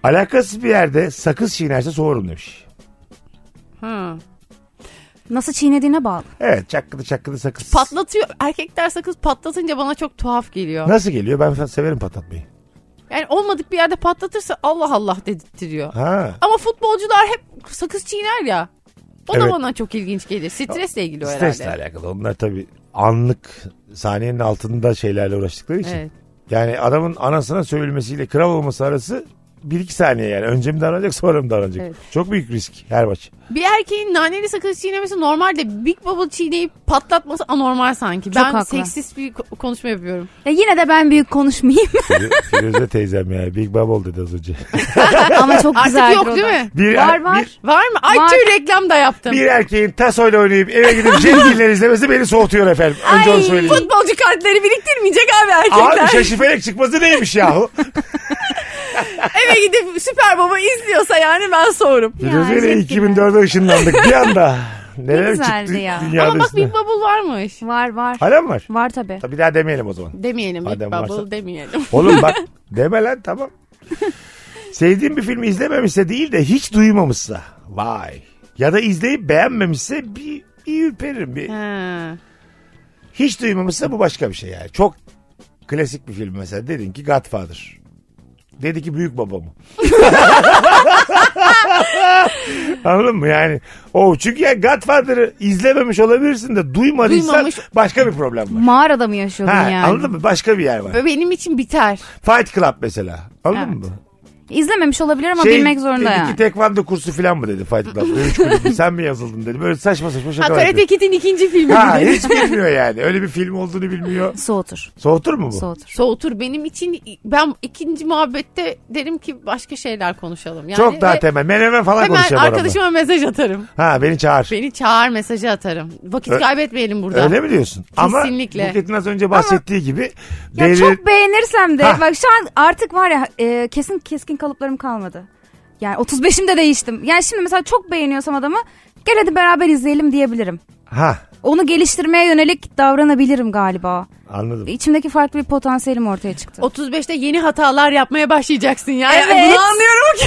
Alakasız bir yerde sakız çiğnerse soğurum demiş. Hı. Nasıl çiğnediğine bağlı. Evet çakkıdı çakkıdı sakız. Patlatıyor. Erkekler sakız patlatınca bana çok tuhaf geliyor. Nasıl geliyor? Ben severim patlatmayı. Yani olmadık bir yerde patlatırsa Allah Allah dedirtiyor. Ha. Ama futbolcular hep sakız çiğner ya. O Evet. da bana çok ilginç geliyor. Stresle ilgili o herhalde. Stresle alakalı. Onlar tabii anlık saniyenin altında şeylerle uğraştıkları için. Evet. Yani adamın anasına söylülmesiyle kral olması arası 1-2 saniye yani. Önce mi davranacak sonra mı davranacak? Evet. Çok büyük risk her maç. Bir erkeğin naneli sakız çiğnemesi normal de Big Bubble çiğneyip patlatması anormal sanki. ben haklı. seksist bir ko- konuşma yapıyorum. Ya yine de ben büyük konuşmayayım. Firu- Firuze teyzem ya. Big Bubble dedi az önce. Ama çok Artık güzel. yok değil mi? Bir, Var, var. Bir, Var mı? Ay Var. tüy reklam da yaptım. bir erkeğin tasoyla oynayıp eve gidip Jengiller izlemesi beni soğutuyor efendim. Önce onu söyleyeyim. Futbolcu kartları biriktirmeyecek abi erkekler. Abi şey- şaşifelek çıkması neymiş yahu? Eve gidip Süper Baba izliyorsa yani ben sorum. Firuze ile çok 2004'e ışınlandık bir anda. Neler güzeldi çıktı ya. dünyada Ama bak üstüne. Big Bubble varmış. Var var. Hala mı var? Var tabii. Tabii daha demeyelim o zaman. Demeyelim Big Madem Bubble varsa. demeyelim. Oğlum bak deme lan tamam. Sevdiğim bir filmi izlememişse değil de hiç duymamışsa. Vay. Ya da izleyip beğenmemişse bir, bir ürperirim. Bir. Ha. Hiç duymamışsa bu başka bir şey yani. Çok klasik bir film mesela. Dedin ki Godfather. Dedi ki büyük babamı. Anladın mı yani? O çünkü ya Godfather'ı izlememiş olabilirsin de duymadıysan Duymamış. başka bir problem var. Mağarada mı yaşıyordun Ha, Hmm, yani? Anladın mı? Başka bir yer var. Ve benim için biter. Fight Club mesela. Anladın Evet. mı? İzlememiş olabilir Şey, ama bilmek zorunda dedi yani. ki tekvando kursu falan mı dedi Fight Club. Üç kulübü, sen mi yazıldın dedi. Böyle saçma saçma Ha, şaka Karate Kid'in ikinci filmi. Ha, dedi. hiç bilmiyor yani. Öyle bir film olduğunu bilmiyor. Soğutur. Soğutur mu bu? Soğutur. Soğutur benim için ben ikinci muhabbette derim ki başka şeyler konuşalım. Yani Çok daha ve temel. Menemen falan Hemen konuşuyor aramda. arkadaşıma mesaj atarım. Ha beni çağır. Beni çağır mesajı atarım. Vakit Ö- kaybetmeyelim burada. Öyle mi diyorsun? Kesinlikle. Ama Buket'in az önce bahsettiği gibi Ya devir- çok beğenirsem de Ha. bak şu an artık var ya e, kesin keskin kalıplarım kalmadı. Yani 35'imde değiştim. Yani şimdi mesela çok beğeniyorsam adamı gel hadi beraber izleyelim diyebilirim. Ha Onu geliştirmeye yönelik davranabilirim galiba. anladım. İçimdeki farklı bir potansiyelim ortaya çıktı. 35'te yeni hatalar yapmaya başlayacaksın yani. Evet. Bunu anlıyorum ki.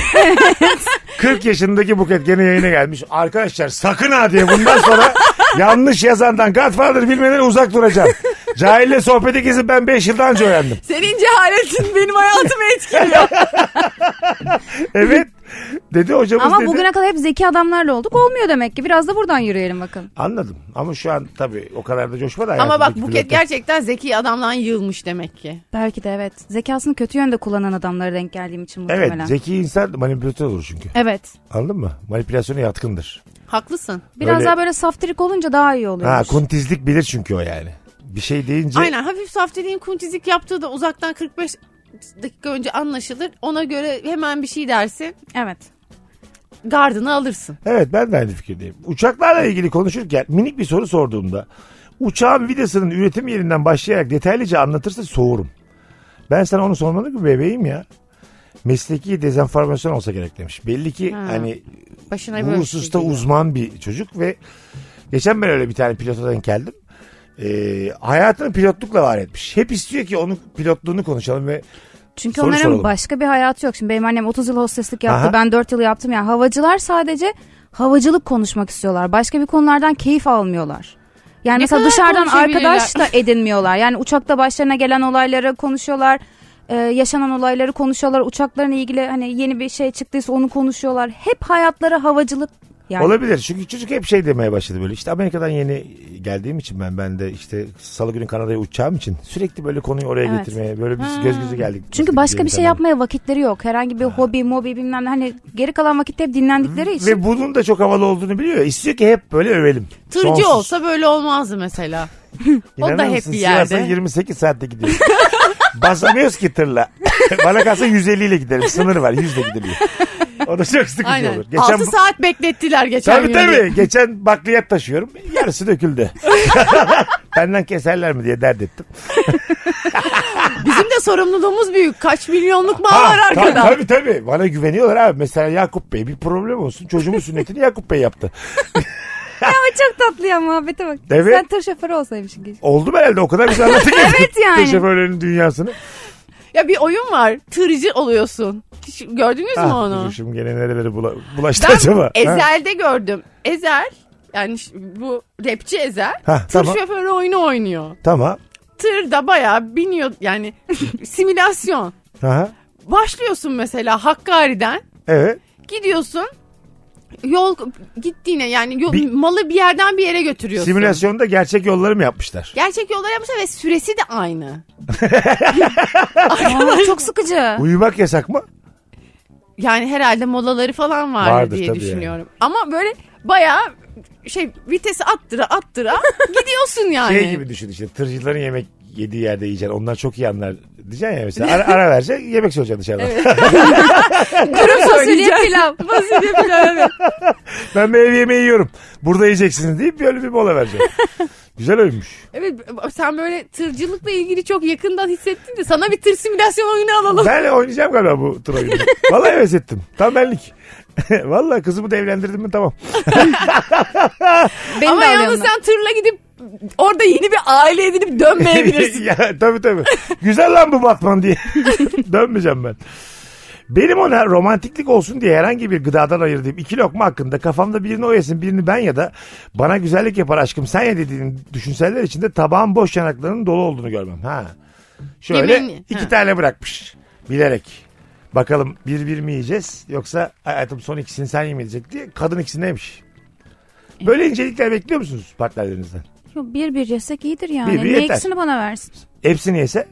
40 yaşındaki Buket gene yayına gelmiş. Arkadaşlar sakın ha diye bundan sonra yanlış yazandan Godfather bilmeden uzak duracağım. Cahille sohbeti gezip ben 5 yıldan önce öğrendim. Senin cehaletin benim hayatımı etkiliyor. Evet. Dedi hocamız Ama dedi. bugüne kadar hep zeki adamlarla olduk. Olmuyor demek ki. Biraz da buradan yürüyelim bakın. Anladım. Ama şu an tabii o kadar da coşma da Ama bak hayatındaki Buket flörte. gerçekten zeki adamdan yığılmış demek ki. Belki de evet. Zekasını kötü yönde kullanan adamlara denk geldiğim için Evet muhtemelen. zeki insan manipülatör olur çünkü. evet. Anladın mı? Manipülasyona yatkındır. Haklısın. Biraz Öyle- daha böyle saftirik olunca daha iyi oluyor. Ha kuntizlik bilir çünkü o yani. Bir şey deyince Aynen hafif safteliğin kuntizik yaptığı da uzaktan 45 dakika önce anlaşılır. Ona göre hemen bir şey dersin. Evet. Gardını alırsın. Evet ben de aynı fikirdeyim. Uçaklarla ilgili konuşurken minik bir soru sorduğumda uçağın vidasının üretim yerinden başlayarak detaylıca anlatırsa soğurum. Ben sana onu sormadım ki bebeğim ya. Mesleki dezenformasyon olsa gerek demiş. Belli ki Ha. hani Başına bu böyle bir şey hususta geliyor. uzman bir çocuk ve geçen ben öyle bir tane pilota denk geldim. Ee, hayatını pilotlukla var etmiş. Hep istiyor ki onun pilotluğunu konuşalım ve Çünkü Soru onların soralım. başka bir hayatı yok. Şimdi benim annem 30 yıl hosteslik yaptı. Aha. Ben 4 yıl yaptım. Yani havacılar sadece havacılık konuşmak istiyorlar. Başka bir konulardan keyif almıyorlar. Yani Ne mesela kadar dışarıdan konuşabilirler? arkadaş da edinmiyorlar. Yani uçakta başlarına gelen olayları konuşuyorlar. Ee, yaşanan olayları konuşuyorlar. Uçaklarla ilgili hani yeni bir şey çıktıysa onu konuşuyorlar. Hep hayatları havacılık. Yani Olabilir. Çünkü çocuk hep şey demeye başladı böyle. İşte Amerika'dan yeni geldiğim için ben ben de işte salı günü Kanada'ya uçacağım için sürekli böyle konuyu oraya Evet. getirmeye böyle biz göz göze geldik. çünkü Nasıl başka bir şey gideceğim insanlarla. yapmaya vakitleri yok. Herhangi bir hobi, mobi bilmem ne hani geri kalan vakitte hep dinlendikleri için. Ve bunun da çok havalı olduğunu biliyor ya. İstiyor ki hep böyle övelim. Tırcı Sonsuz. olsa böyle olmazdı mesela. o da İnanır hep mısın? bir yerde. Sivas'a 28 saatte gidiyor. Basamıyoruz ki tırla. Bana kalsa 150 ile giderim. Sınır var. 100 ile gidiliyor. O da çok sıkıcı Aynen. olur. 6 saat beklettiler geçen Tabii yönde. tabii. Geçen bakliyat taşıyorum. Yarısı döküldü. Benden keserler mi diye dert ettim. Bizim de sorumluluğumuz büyük. Kaç milyonluk mal var Ha, arkada. Tabii tabii tabii. Bana güveniyorlar abi. Mesela Yakup Bey bir problem olsun. Çocuğumun sünnetini Yakup Bey yaptı. Ama çok tatlı ya muhabbete bak. Evet. Sen tır şoförü olsaymışsın keşke. Oldu mu herhalde o kadar güzel anlattı ki. Evet yani. Şoförlerin dünyasını. Ya bir oyun var. Tırcı oluyorsun. Hiç gördünüz mü Ah, onu? dur Şimdi gene nerelere bula, bulaştı Ben acaba? Ha? Ezel'de gördüm. Ezel yani ş- bu rapçi Ezel Ha, tır tamam. şoförü oyunu oynuyor. Tamam. Tır da bayağı biniyor yani simülasyon. Aha. Başlıyorsun mesela Hakkari'den Evet. gidiyorsun yol gittiğine yani yol- Bir- malı bir yerden bir yere götürüyorsun. Simülasyonda gerçek yolları mı yapmışlar? Gerçek yollar yapmışlar ve süresi de aynı. Aa, çok sıkıcı. Uyumak yasak mı? Yani herhalde molaları falan vardır, Vardır diye tabii düşünüyorum. Ama böyle bayağı şey vitesi attıra attıra gidiyorsun yani. Şey gibi düşün işte tırcıların yemek yediği yerde yiyeceksin. Onlar çok iyi anlar. Diyeceksin ya mesela ara, ara vereceksin yemek söyleyeceksin dışarıdan. Durum fasulye söyleyeceğim. pilav. Fasulye pilav evet. ben bir ev yemeği yiyorum. Burada yiyeceksiniz deyip böyle bir mola vereceksin. güzel ölmüş. Evet sen böyle tırcılıkla ilgili çok yakından hissettin de sana bir tır simülasyon oyunu alalım. Ben oynayacağım galiba bu tur oyunu. Vallahi heves ettim. Tam benlik. Vallahi kızımı da evlendirdim mi tamam. Beni Ama de al yalnız yanına. sen tırla gidip orada yeni bir aile edinip dönmeyebilirsin. ya, tabii tabii. Güzel lan bu Batman diye. Dönmeyeceğim ben. Benim ona romantiklik olsun diye herhangi bir gıdadan ayırdığım iki lokma hakkında kafamda birini o yesin birini ben ya da bana güzellik yapar aşkım sen ye dediğin düşünseller içinde tabağın boş yanaklarının dolu olduğunu görmem. Ha. Şöyle Yemeğini, iki ha. tane bırakmış bilerek. Bakalım bir bir mi yiyeceğiz yoksa hayatım son ikisini sen yemeyecek diye kadın ikisini yemiş. Böyle incelikler bekliyor musunuz partnerlerinizden? Yo, bir bir yesek iyidir yani. Bir bir Niye yeter. ikisini bana versin? Hepsini yese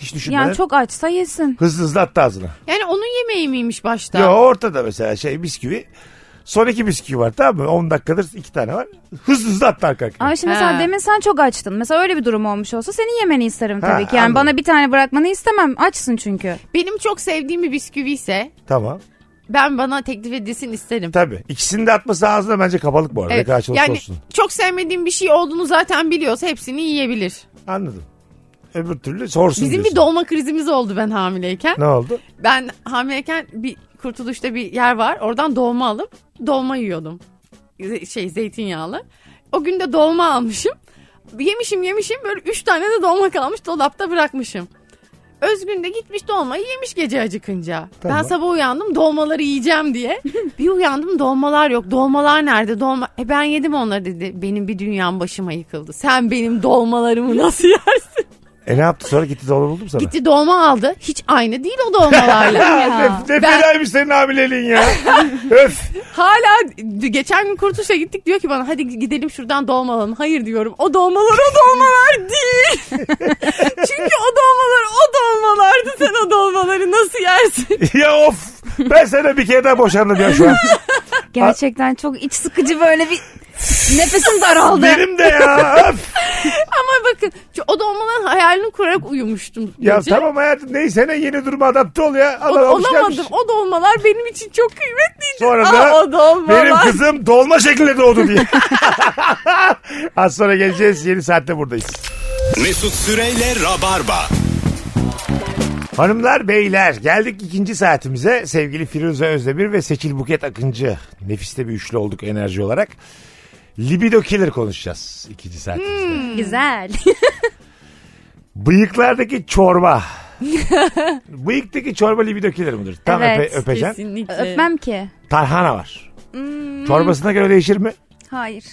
hiç düşünmeden. Yani çok açsa yesin. Hızlı hızlı attı ağzına. Yani onun yemeği miymiş başta? Yo ortada mesela şey bisküvi. Son iki bisküvi var tamam mı? 10 dakikadır iki tane var. Hızlı hızlı attı arka arkaya. Ama şimdi mesela Ha. demin sen çok açtın. Mesela öyle bir durum olmuş olsa senin yemeni isterim tabii Ha, ki. Yani anladım. bana bir tane bırakmanı istemem. Açsın çünkü. Benim çok sevdiğim bir bisküvi ise Tamam. ben bana teklif edilsin isterim. Tabii. İkisini de atması ağzına bence kapalık bu arada. Ne Evet. kadar açılırsa Yani olsun. çok sevmediğim bir şey olduğunu zaten biliyorsa hepsini yiyebilir. Anladım. Öbür türlü sorsun Bizim diyorsun. bir dolma krizimiz oldu ben hamileyken. Ne oldu? Ben hamileyken bir kurtuluşta bir yer var. Oradan dolma alıp dolma yiyordum. Ze- Şey zeytinyağlı. O gün de dolma almışım. Yemişim yemişim böyle üç tane de dolma kalmış dolapta bırakmışım. Özgün de gitmiş dolmayı yemiş gece acıkınca. Tamam. Ben sabah uyandım dolmaları yiyeceğim diye. bir uyandım dolmalar yok. Dolmalar nerede? Dolma. E ben yedim onları dedi. Benim bir dünyam başıma yıkıldı. Sen benim dolmalarımı nasıl yersin? E ne yaptı sonra gitti dolma buldum sana. Gitti dolma aldı. Hiç aynı değil o dolmalarla. Ya. Ne Ben- fenaymış senin hamileliğin ya. Öf. Hala d- geçen gün kurtuluşa gittik diyor ki bana hadi gidelim şuradan dolma alalım. Hayır diyorum o dolmalar o dolmalar değil. Çünkü o dolmalar o dolmalardı sen o dolmaları nasıl yersin? ya of. Ben sana bir kere daha boşandım ya şu an. Gerçekten çok iç sıkıcı böyle bir nefesim daraldı. Benim de ya. Öf. Ama bakın şu- o dolmaların hayalini kurarak uyumuştum. Ya gece. tamam hayatım neyse ne yeni duruma adapte ol ya. O- Adam almış olamadım. gelmiş. O dolmalar benim için çok kıymetliydi. Sonra da Aa, o dolmalar. benim kızım dolma şeklinde doğdu diye. Az sonra geleceğiz. Yeni saatte buradayız. Mesut Süreyle Rabarba. Hanımlar beyler geldik ikinci saatimize sevgili Firuze Özdemir ve Seçil Buket Akıncı. Nefiste bir üçlü olduk enerji olarak. Libido killer konuşacağız ikinci saatimizde. Hmm. Güzel. Bıyıklardaki çorba. Bıyıktaki çorba libido killer midir? Tam Evet, öpe, öpeceksin. Kesinlikle. Öpmem ki. Tarhana var. Çorbasına göre değişir mi? Hayır.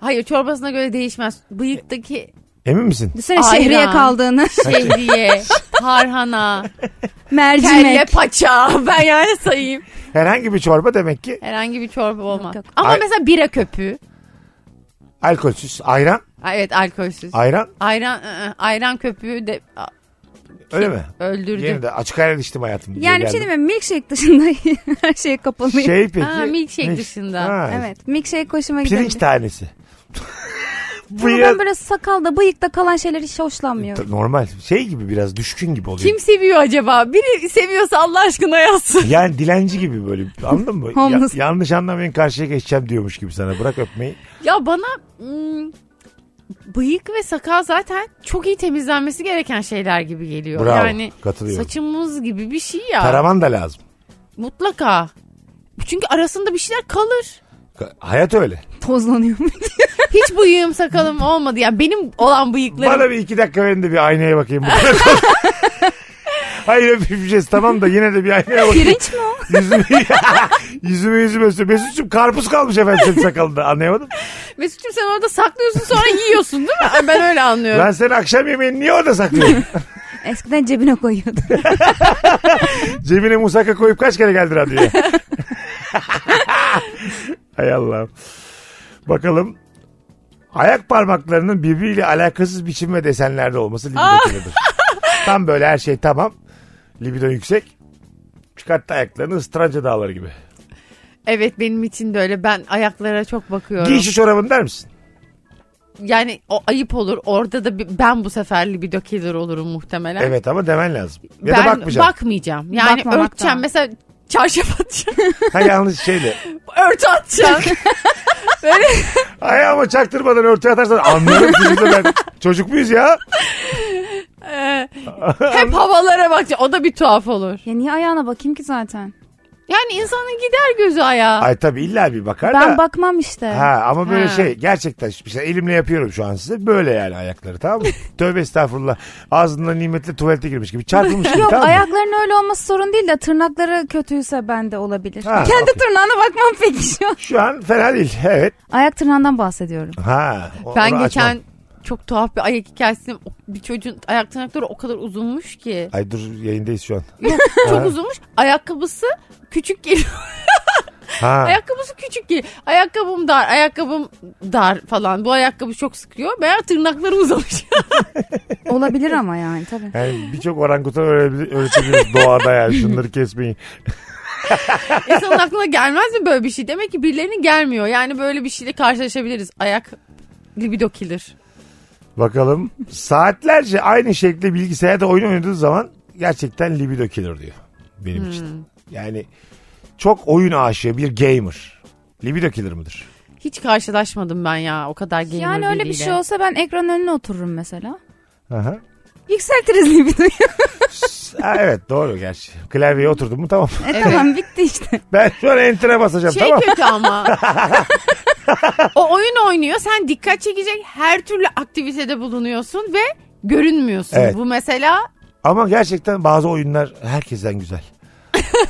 Hayır çorbasına göre değişmez. Bıyıktaki Emin misin? Düşünsene Ayran. şehriye kaldığını. şey. şehriye, tarhana, kelle Mercimek. paça. Ben yani sayayım. Herhangi bir çorba demek ki Herhangi bir çorba olmaz. yok. Ama Ay- mesela bira köpüğü. alkolsüz. Ayran. Ay, Evet alkolsüz. Ayran. Ayran ı, ı, ayran köpüğü de a, Öyle mi? öldürdü. Yeni de açık ayran içtim hayatım. diye Yani bir şey geldim. diyeyim mi? Milkshake dışında her şeye kapalıyım. Şey peki. Aa, milkshake Milk- dışında. Ha, Evet. Milkshake hoşuma gidiyor. Pirinç tanesi. Ama Bıyık. ben böyle sakalda bıyıkta kalan şeyleri hiç hoşlanmıyorum. Normal şey gibi biraz düşkün gibi oluyor. Kim seviyor acaba? Biri seviyorsa Allah aşkına yazsın. Yani dilenci gibi böyle anladın mı? Ya- Homeless. yanlış anlamayın karşıya geçeceğim diyormuş gibi sana bırak öpmeyi. Ya bana hmm, bıyık ve sakal zaten çok iyi temizlenmesi gereken şeyler gibi geliyor. Bravo, yani katılıyorum. saçımız gibi bir şey ya. Taraman da lazım. Mutlaka. Çünkü arasında bir şeyler kalır. Ka- Hayat öyle. Tozlanıyor mu? Hiç bıyığım sakalım olmadı. Yani benim olan bıyıklarım. Bana bir iki dakika verin de bir aynaya bakayım. Bu kadar konuş- Hayır öpeceğiz tamam da yine de bir aynaya bakayım. Pirinç mi o? yüzüme, yüzüme yüzüme üstüne. Mesut'cum karpuz kalmış efendim senin sakalında anlayamadım. Mesut'cum sen orada saklıyorsun sonra yiyorsun değil mi? Ay, Ben öyle anlıyorum. Ben senin akşam yemeğini niye orada saklıyorum? Eskiden cebine koyuyordu. Cebine musaka koyup kaç kere geldi radyoya? Hay Allah'ım. Bakalım. Ayak parmaklarının birbiriyle alakasız biçim ve desenlerde olması libido kırılır. Tam böyle her şey tamam. Libido yüksek. Çıkarttı ayaklarını ıstıranca dağları gibi. Evet benim için de öyle. Ben ayaklara çok bakıyorum. Giy şu çorabını der misin? Yani o ayıp olur. Orada da bir- ben bu sefer libido killer olurum muhtemelen. Evet ama demen lazım. Ya ben da bakmayacaksın. bakmayacağım. Yani Bakmamak örteceğim. da. Mesela çarşaf atacağım. Ha yanlış şey şeyle. Örtü atacağım. Ayağıma çaktırmadan örtü atarsan anlarım. Şimdi de ben. Çocuk muyuz ya? Ee, Hep havalara bakacağım. O da bir tuhaf olur. ya niye ayağına bakayım ki zaten? Yani insanın gider gözü ayağa. Ay tabii illa bir bakar da. Ben bakmam işte. Ha ama böyle Ha. şey gerçekten şu- mesela elimle yapıyorum şu an size. Böyle yani ayakları tamam mı? Tövbe estağfurullah. Ağzından nimetle tuvalete girmiş gibi. Çarpılmış gibi Yok tamam mı? ayakların öyle olması sorun değil de tırnakları kötüyse bende olabilir. Ha, Kendi okey. tırnağına bakmam peki şu an. Şu an fena değil. Evet. Ayak tırnağından bahsediyorum. Ha. o- onu ben geçen açmam. çok tuhaf bir ayak hikayesini bir çocuğun ayak tırnakları o kadar uzunmuş ki. Ay dur yayındayız şu an. Çok Ha. uzunmuş. Ayakkabısı küçük geliyor. Ha. Ayakkabısı küçük geliyor. Ayakkabım dar, ayakkabım dar falan. Bu ayakkabı çok sıkıyor. Meğer tırnakları uzamış. Olabilir ama yani tabii. Yani birçok orangutan öğre- öğretebiliriz doğada yani şunları kesmeyin. İnsanın aklına gelmez mi böyle bir şey? Demek ki birilerine gelmiyor. Yani böyle bir şeyle karşılaşabiliriz. Ayak libido killer. Bakalım saatlerce aynı şekilde bilgisayarda oyun oynadığınız zaman gerçekten libido killer diyor benim Hmm. için. Yani çok oyun aşığı bir gamer. Libido killer mıdır? Hiç karşılaşmadım ben ya o kadar gamer Yani öyle bir biriyle. şey olsa ben ekran önüne otururum mesela. Aha. Yükseltiriz libidoyu. Ha, evet doğru gerçi. Klavyeye oturdum mu tamam. e tamam bitti işte. Ben şu an enter'e basacağım Şey tamam. kötü ama. o oyun oynuyor. Sen dikkat çekecek her türlü aktivitede bulunuyorsun ve görünmüyorsun. Evet. Bu mesela Ama gerçekten bazı oyunlar herkesten güzel.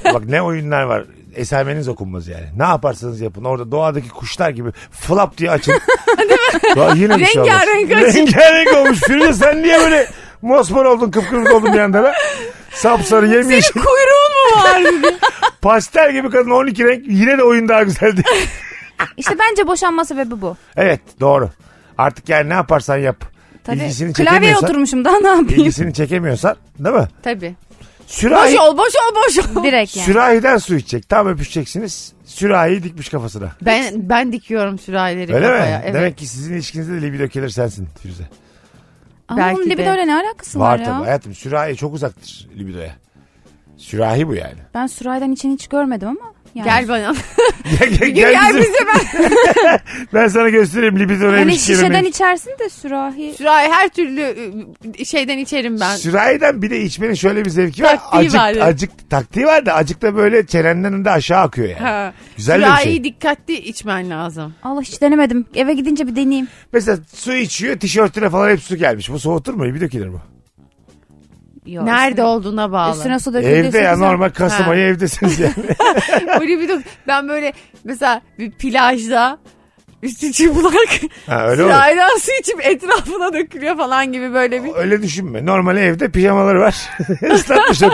Bak ne oyunlar var. Esameniz okunmaz yani. Ne yaparsanız yapın. Orada doğadaki kuşlar gibi flap diye açın. Değil mi? Yine bir şey olmaz. Rengarenk açın. Rengarenk olmuş. Firuze sen niye böyle mosmor oldun kıpkırmızı oldun bir anda lan? Sapsarı yemyeşil. kuyruğun mu var? Pastel gibi kadın 12 renk. Yine de oyun daha güzeldi. İşte bence boşanma sebebi bu. evet doğru. Artık yani ne yaparsan yap. Tabii. İlgisini Klavyeye çekemiyorsan. oturmuşum daha ne yapayım? ilgisini çekemiyorsan değil mi? Tabii. Boş Sürahi, ol boş ol boş ol. Direkt yani. sürahiden su içecek. Tam öpüşeceksiniz. Sürahiyi dikmiş kafasına. Ben ben dikiyorum sürahileri Öyle mi? kafaya. Evet. Demek ki sizin ilişkinizde de libido killer sensin Firuze. Ama Belki bunun de. libidoyla ne alakası var, Var ya? tabii hayatım sürahi çok uzaktır libidoya. Sürahi bu yani. Ben Süray'dan için hiç görmedim ama. Yani. Gel bana. gel, gel, Gel, bizim- bize ben. Ben sana göstereyim libido Hani neymiş şişeden kelimeyi. içersin de sürahi. Şurayı her türlü e, şeyden içerim ben. Sürahiden bir de içmenin şöyle bir zevki var. Taktiği Acık, var. acık taktiği var da acık da böyle çenenden de aşağı akıyor yani. Ha. Güzel de bir Şurayı şey. dikkatli içmen lazım. Allah hiç denemedim. Eve gidince bir deneyeyim. Mesela su içiyor tişörtüne falan hep su gelmiş. Bu soğutur mu? Bir dökülür mü? Yok, Nerede üstüne- olduğuna bağlı. Üstüne su döküldüyse Evde ya güzel. normal Kasım Ha. ayı evdesiniz yani. Böyle bir dok- ben böyle mesela bir plajda üstü çıplak Ha, öyle olur. sırayla su içip etrafına dökülüyor falan gibi böyle bir. Öyle düşünme. Normal evde pijamaları var. Islatmış hep.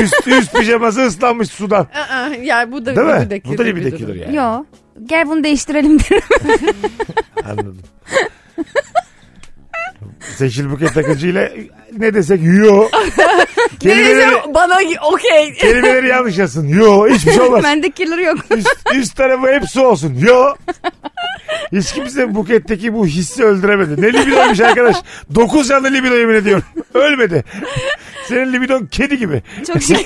Üst, üst pijaması ıslanmış sudan. Aa, ı-ı, yani bu da Değil bir mi? dökülür. Bu da bir durum. dökülür yani. Yok. Gel bunu değiştirelim derim. Anladım. Seçil Buket Akıcı ile ne desek yo. kelimeleri, Neyse bana okey. kelimeleri yanlış yazsın. Yo hiçbir şey olmaz. Bende kirleri yok. üst, üst tarafı hep su olsun. Yo. Hiç kimse Buket'teki bu hissi öldüremedi. Ne libidoymuş arkadaş. 9 canlı libido yemin ediyorum. Ölmedi. Senin libidon kedi gibi. Çok şey.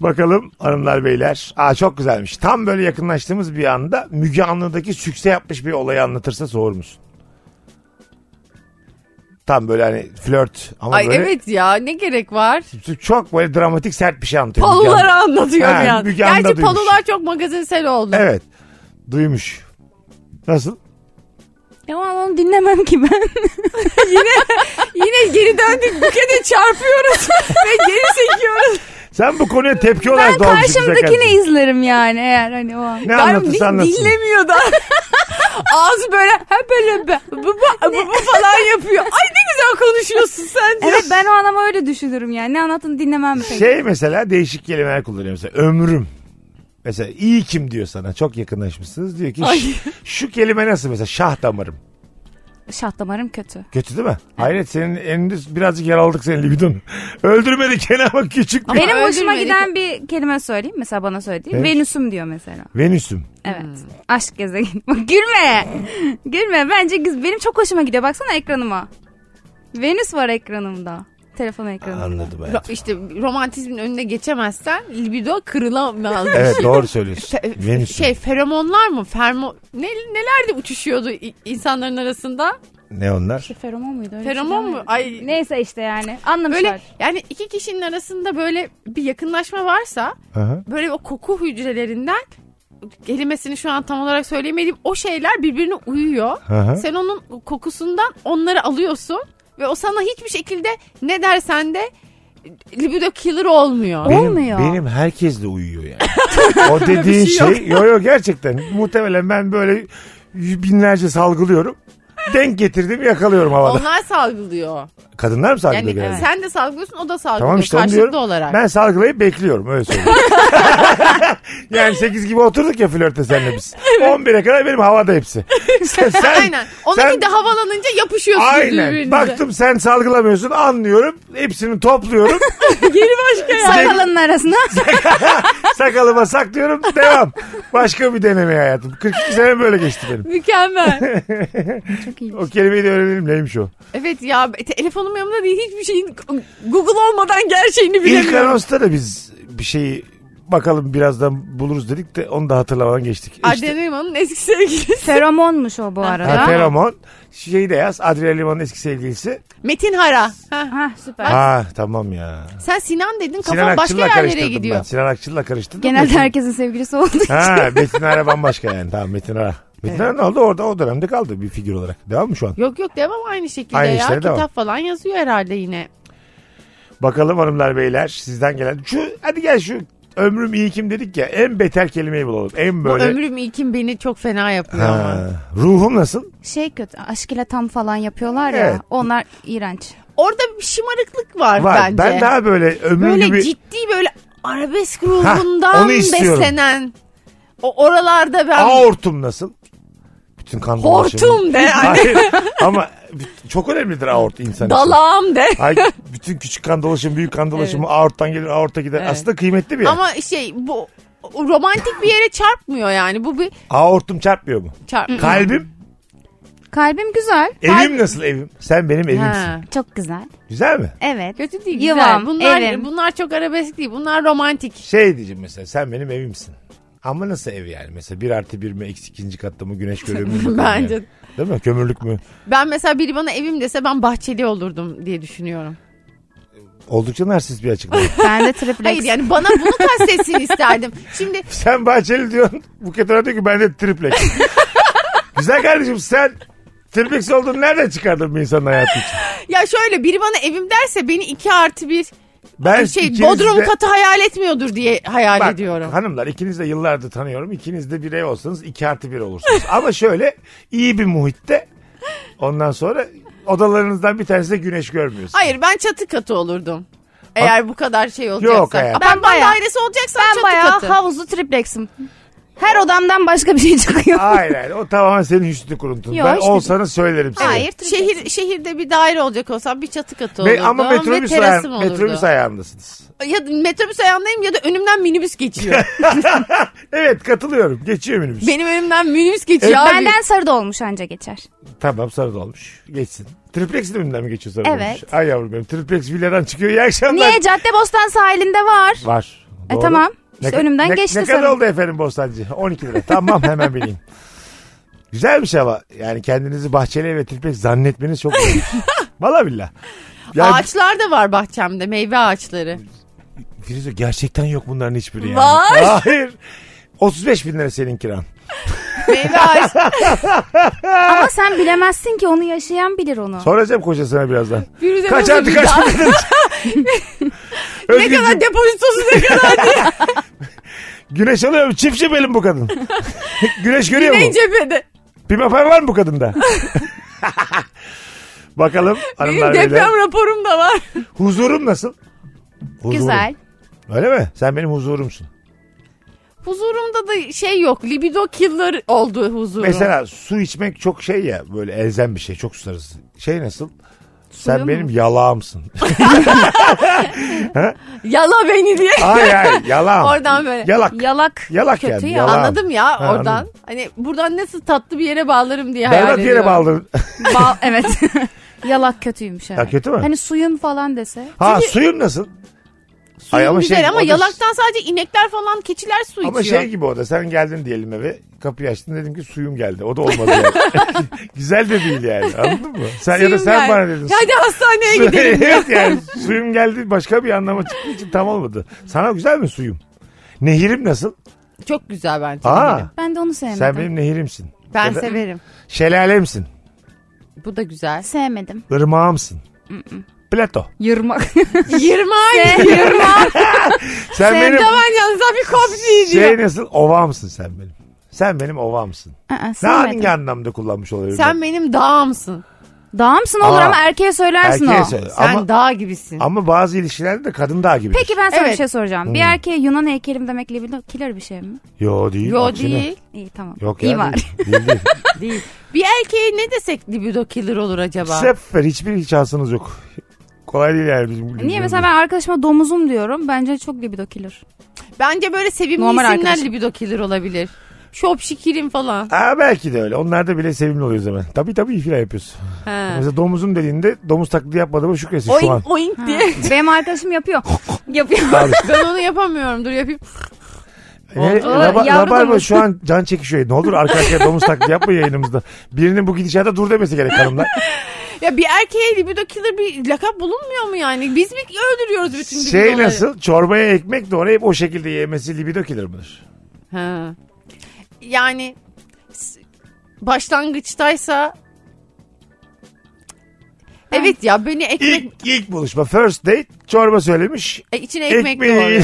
Bakalım hanımlar beyler. Aa çok güzelmiş. Tam böyle yakınlaştığımız bir anda Müge Anlı'daki sükse yapmış bir olayı anlatırsa soğur musun? Tam böyle hani flört ama Ay böyle evet ya ne gerek var? çok böyle dramatik sert bir şey anlatıyor. Müge Anlı. Paluları anlatıyor Ha, bir an. Müge Anlı'da Gerçi duymuş. palular çok magazinsel oldu. Evet. Duymuş. Nasıl? Ya onu dinlemem ki ben. Yine geri döndük bukete çarpıyoruz ve geri sekiyoruz. Sen bu konuya tepki olarak Ben doğmuşsun. karşımdakini izlerim yani eğer hani o an. Ne Ben anlatırsa anlatsın. dinlemiyor da. Ağzı böyle hep böyle be, bu, bu, bu, bu falan yapıyor. Ay ne güzel konuşuyorsun sen diye. Evet ben o an ama öyle düşünürüm yani. Ne anlattığını dinlemem pek. Şey mesela değişik kelimeler kullanıyor mesela ömrüm. Mesela iyi kim diyor sana çok yakınlaşmışsınız diyor ki Ay. "Ş- şu kelime nasıl mesela şah damarım. Şah damarım kötü. Kötü değil mi? Hayret senin elinde birazcık yaraladık senin libidon. Öldürmedi gene ama küçük bir. Ama- Benim hoşuma öldürmedik. giden bir kelime söyleyeyim. Mesela bana söylediği. Evet. Venüs'üm diyor mesela. Venüs'üm. Evet. Aşk gezegeni. Bak gülme. gülme. Bence güz- benim çok hoşuma gidiyor. Baksana ekranıma. Venüs var ekranımda. Telefon ekranımda. Anladım Ro- hayatım. İşte romantizmin önüne geçemezsen libido kırılamaz. Evet doğru söylüyorsun. Fe- Venüs'üm. Şey feromonlar mı? Fermo ne, neler de uçuşuyordu i- insanların arasında? Ne onlar? Şey, Feromon muydu? Öyle bir Feromon şey mu? Ay Neyse işte yani. Anlamışlar. böyle yani iki kişinin arasında böyle bir yakınlaşma varsa Aha. böyle o koku hücrelerinden kelimesini şu an tam olarak söyleyemediğim o şeyler birbirine uyuyor. Aha. Sen onun kokusundan onları alıyorsun ve o sana hiçbir şekilde ne dersen de libido killer olmuyor. O- Olmuyor. Benim herkesle uyuyor yani. o dediğin şey şey. Yo yo gerçekten. Muhtemelen ben böyle binlerce salgılıyorum. Denk getirdim yakalıyorum havada. Onlar salgılıyor. Kadınlar mı salgılıyor Yani genelde? sen de salgılıyorsun o da salgılıyor Tamam işte onu karşılıklı diyorum. olarak. Ben salgılayıp bekliyorum öyle söyleyeyim. yani 8 gibi oturduk ya flörte senle biz. 11'e kadar benim havada hepsi. Sen, sen- Aynen. Onunki sen- de havalanınca yapışıyorsunuz birbirinize. Aynen. Baktım sen salgılamıyorsun anlıyorum. Hepsini topluyorum. Geri başka ya. Sakalının arasına. sakalıma saklıyorum. Devam. Başka bir deneme hayatım. 42 sene böyle geçti benim. Mükemmel. Çok iyi. O kelimeyi de öğrenelim neymiş o. evet ya te- telefonum yanımda değil hiçbir şeyin Google olmadan gerçeğini İlk bilemiyorum. anonsta da biz bir şeyi bakalım birazdan buluruz dedik de onu da hatırlamadan geçtik. İşte- Adnan Elman'ın eski sevgilisi. Feromonmuş o bu Ha, arada. feromon. Şeyi de yaz. Adrian Liman'ın eski sevgilisi. Metin Hara. Ha. Ha süper. Ha tamam ya. Sen Sinan dedin kafan Sinan başka Akçıl'la yerlere karıştırdım ben. gidiyor. Sinan Akçıl'la karıştırdım. Genelde Metin- herkesin sevgilisi olduğu için. Ha Metin Ara bambaşka yani. Tamam Metin Ara. Metin Ara ne oldu? Orada o dönemde kaldı bir figür olarak. Devam mı şu an? Yok yok devam aynı şekilde Aynı ya. işlere Kitap devam. falan yazıyor herhalde yine. Bakalım hanımlar beyler sizden gelen. Şu hadi gel şu ömrüm iyi kim dedik ya. En beter kelimeyi bulalım. En böyle. Bu ömrüm ilkim beni çok fena yapıyor ama. Ha, ruhum nasıl? Şey kötü. Aşk ile tam falan yapıyorlar ya. Evet. Onlar iğrenç. Orada bir şımarıklık var, Var. bence. Ben daha böyle ömrüm böyle gibi. ciddi böyle arabesk Hah, ruhundan onu istiyorum. beslenen. O oralarda ben Aortum nasıl? Bütün kan dolaşımı. hortum de ay, Hayır ama çok önemlidir aort insan için. dalağım de. Ay, bütün küçük kan dolaşımı, büyük kan dolaşımı aorttan gelir, aorta gider. Evet. Aslında kıymetli bir yer. Ama şey bu romantik bir yere çarpmıyor yani. Bu bir Aortum çarpmıyor mu? çarp. Kalbim Kalbim güzel. Evim nasıl evim? Sen benim evimsin. Ha. Çok güzel. Güzel mi? Evet. Kötü değil Yuvam, güzel. Bunlar, evim. bunlar çok arabesk değil. Bunlar romantik. Şey diyeceğim mesela sen benim evimsin. Ama nasıl ev yani? Mesela bir artı bir mi, eksi ikinci katta mı, güneş görüyor mu? bilmiyorum Bence. yani. Değil mi? Kömürlük mü? Ben mesela biri bana evim dese ben bahçeli olurdum diye düşünüyorum. Oldukça narsist bir açıklama. Ben de triplex. Hayır yani bana bunu kastetsin isterdim. Şimdi sen bahçeli diyorsun. Buket ona diyor ki ben de triplex. Güzel kardeşim sen triplex olduğunu nereden çıkardın bir insanın hayatı için? ya şöyle biri bana evim derse beni 2 artı bir Ben şey ikiniz bodrum de- katı hayal etmiyordur diye hayal Bak, ediyorum. Hanımlar ikiniz de yıllardır tanıyorum. İkiniz de birey olsanız iki artı bir olursunuz. Ama şöyle iyi bir muhitte ondan sonra odalarınızdan bir tanesi de güneş görmüyorsun. Hayır ben çatı katı olurdum. Eğer bu kadar şey olacaksa. Yok hayatım. Ben, ben bayağı- dairesi olacaksa ben çatı bayağı katı. havuzlu triplexim. Her odamdan başka bir şey çıkıyor. Hayır hayır o tamamen senin hüsnü kuruntun. Yok, ben işte- olsanız söylerim size. Hayır. triplexim. Şehir şehirde bir daire olacak olsam bir çatı katı olurdu. Ve, ama metrobüs, ve terasım ayağın, olurdu. metrobüs ayağındasınız. ya metrobüs ayağındayım ya da önümden minibüs geçiyor. Evet katılıyorum. Geçiyor minibüs. Benim önümden minibüs geçiyor abi. Benden sarı da olmuş anca geçer. Tamam sarı dolmuş. Geçsin. Triplex'in önünden mi geçiyor sarı Evet. dolmuş? Ay yavrum benim triplex villadan çıkıyor. İyi akşamlar. Niye? Caddebostan sahilinde var. Var. E Doğru. tamam. İşte ka- önümden ne, geçti Ne kadar sarı. oldu efendim Bostancı? 12 lira. Tamam hemen bineyim. Güzelmiş ama yani kendinizi bahçeli ve triplex zannetmeniz çok güzelmiş. Valla billah. Yani Ağaçlar da var bahçemde meyve ağaçları. Firuze gerçekten yok bunların hiçbiri yani. Var. Hayır. 35 bin lira senin kiran. Meyve ağaç. Ama sen bilemezsin ki onu yaşayan bilir onu. Soracağım kocasına birazdan. Firuze kaç nasıl artı bir kaç dağ- dedin? Ne kadar depozitosu ne kadar güneş alıyor mu? Çift elim bu kadın. güneş görüyor mu? ne cephede. Pimapen var mı bu kadında? Bakalım Benim hanımlar beyler. deprem raporum da var. Huzurum nasıl? Huzurum. Güzel. Öyle mi? Sen benim huzurumsun. Huzurumda da şey yok. Libido killer oldu huzurum. Mesela su içmek çok şey ya böyle elzem bir şey çok susarız. Şey nasıl? Sen mu? benim yalağımsın. Yala beni diye. hayır hayır yalağım. Oradan böyle. Yalak. Yalak. Yalak Kötü yani, ya. yalak. Anladım ya Ha, oradan. anladım. Hani buradan nasıl tatlı bir yere bağlarım diye hayal Berbat ediyorum. yere bağladın. Ba- evet. Yalak kötüymüş evet. Ya kötü mü? Hani suyun falan dese. ha suyun nasıl? Suyun Ay ama güzel şey, ama o da- yalaktan sadece inekler falan keçiler su Ama içiyor. şey gibi o da sen geldin diyelim eve kapıyı açtın dedim ki suyum geldi. O da olmadı yani. Güzel de değil yani anladın mı? Sen ya da Suyum sen geldi. bana dedin. Hadi hastaneye Su- gidelim. evet yani suyum geldi başka bir anlama çıktığı için tam olmadı. Sana güzel mi suyum? Nehirim nasıl? Çok güzel bence. Aa, benim. Ben de onu sevmedim. sen benim nehirimsin. Ben Ya da severim. Şelalemsin. Bu da güzel. Sevmedim. ırmağımsın. Plato. Yırmak. Yırmak. Yırmak. Sen Benim... benim Tavan yanınıza bir kopya şey nasıl ovamsın sen benim. Sen benim ovamsın. Aa, Ne hangi sevmedim. anlamda kullanmış olabilirim? Sen benim dağımsın. Dağımsın olur Aa. ama erkeğe söylersin Erkeğe o. söyle. Sen Ama, dağ gibisin. ama bazı ilişkilerde de kadın daha gibi. Peki ben sana Evet. bir şey soracağım. Hmm. Bir erkeğe Yunan heykelim demek libido killer bir şey mi? Yo değil. Yo aksine. değil. İyi tamam. Yok İyi ya. var. Değil, değil, değil. Değil. Bir erkeğe ne desek libido killer olur acaba? Sefer hiçbir şansınız yok. Kolay değil yani bizim. Niye mesela ben arkadaşıma domuzum diyorum. Bence çok libido killer. Bence böyle sevimli Normal isimler arkadaşım. libido killer olabilir. Şop şikirim falan. Aa, belki de öyle. Onlar da bile sevimli oluyor zaman. Tabii tabii filan yapıyoruz. Ha. Mesela domuzum dediğinde domuz taklidi yapmadığımı şükresin şu an. Oink oink diye. Benim arkadaşım yapıyor. yapıyor. ben onu yapamıyorum. Dur yapayım. Ne, Oldu. Raba- Yavru E, Rabarba domuz. şu an can çekişiyor. Ne olur arkadaşlar domuz taklidi yapma yayınımızda. Birinin bu gidişata dur demesi gerek hanımlar. Ya bir erkeğe libido killer bir lakap bulunmuyor mu yani? Biz mi öldürüyoruz bütün libidoları? şey nasıl? Çorbaya ekmek de onu hep o şekilde yemesi libido killer mıdır? Ha. Yani s- başlangıçtaysa Evet ya beni ekmek İlk, ilk buluşma first date çorba söylemiş. e, içine ekmek ekmeği doğuyor.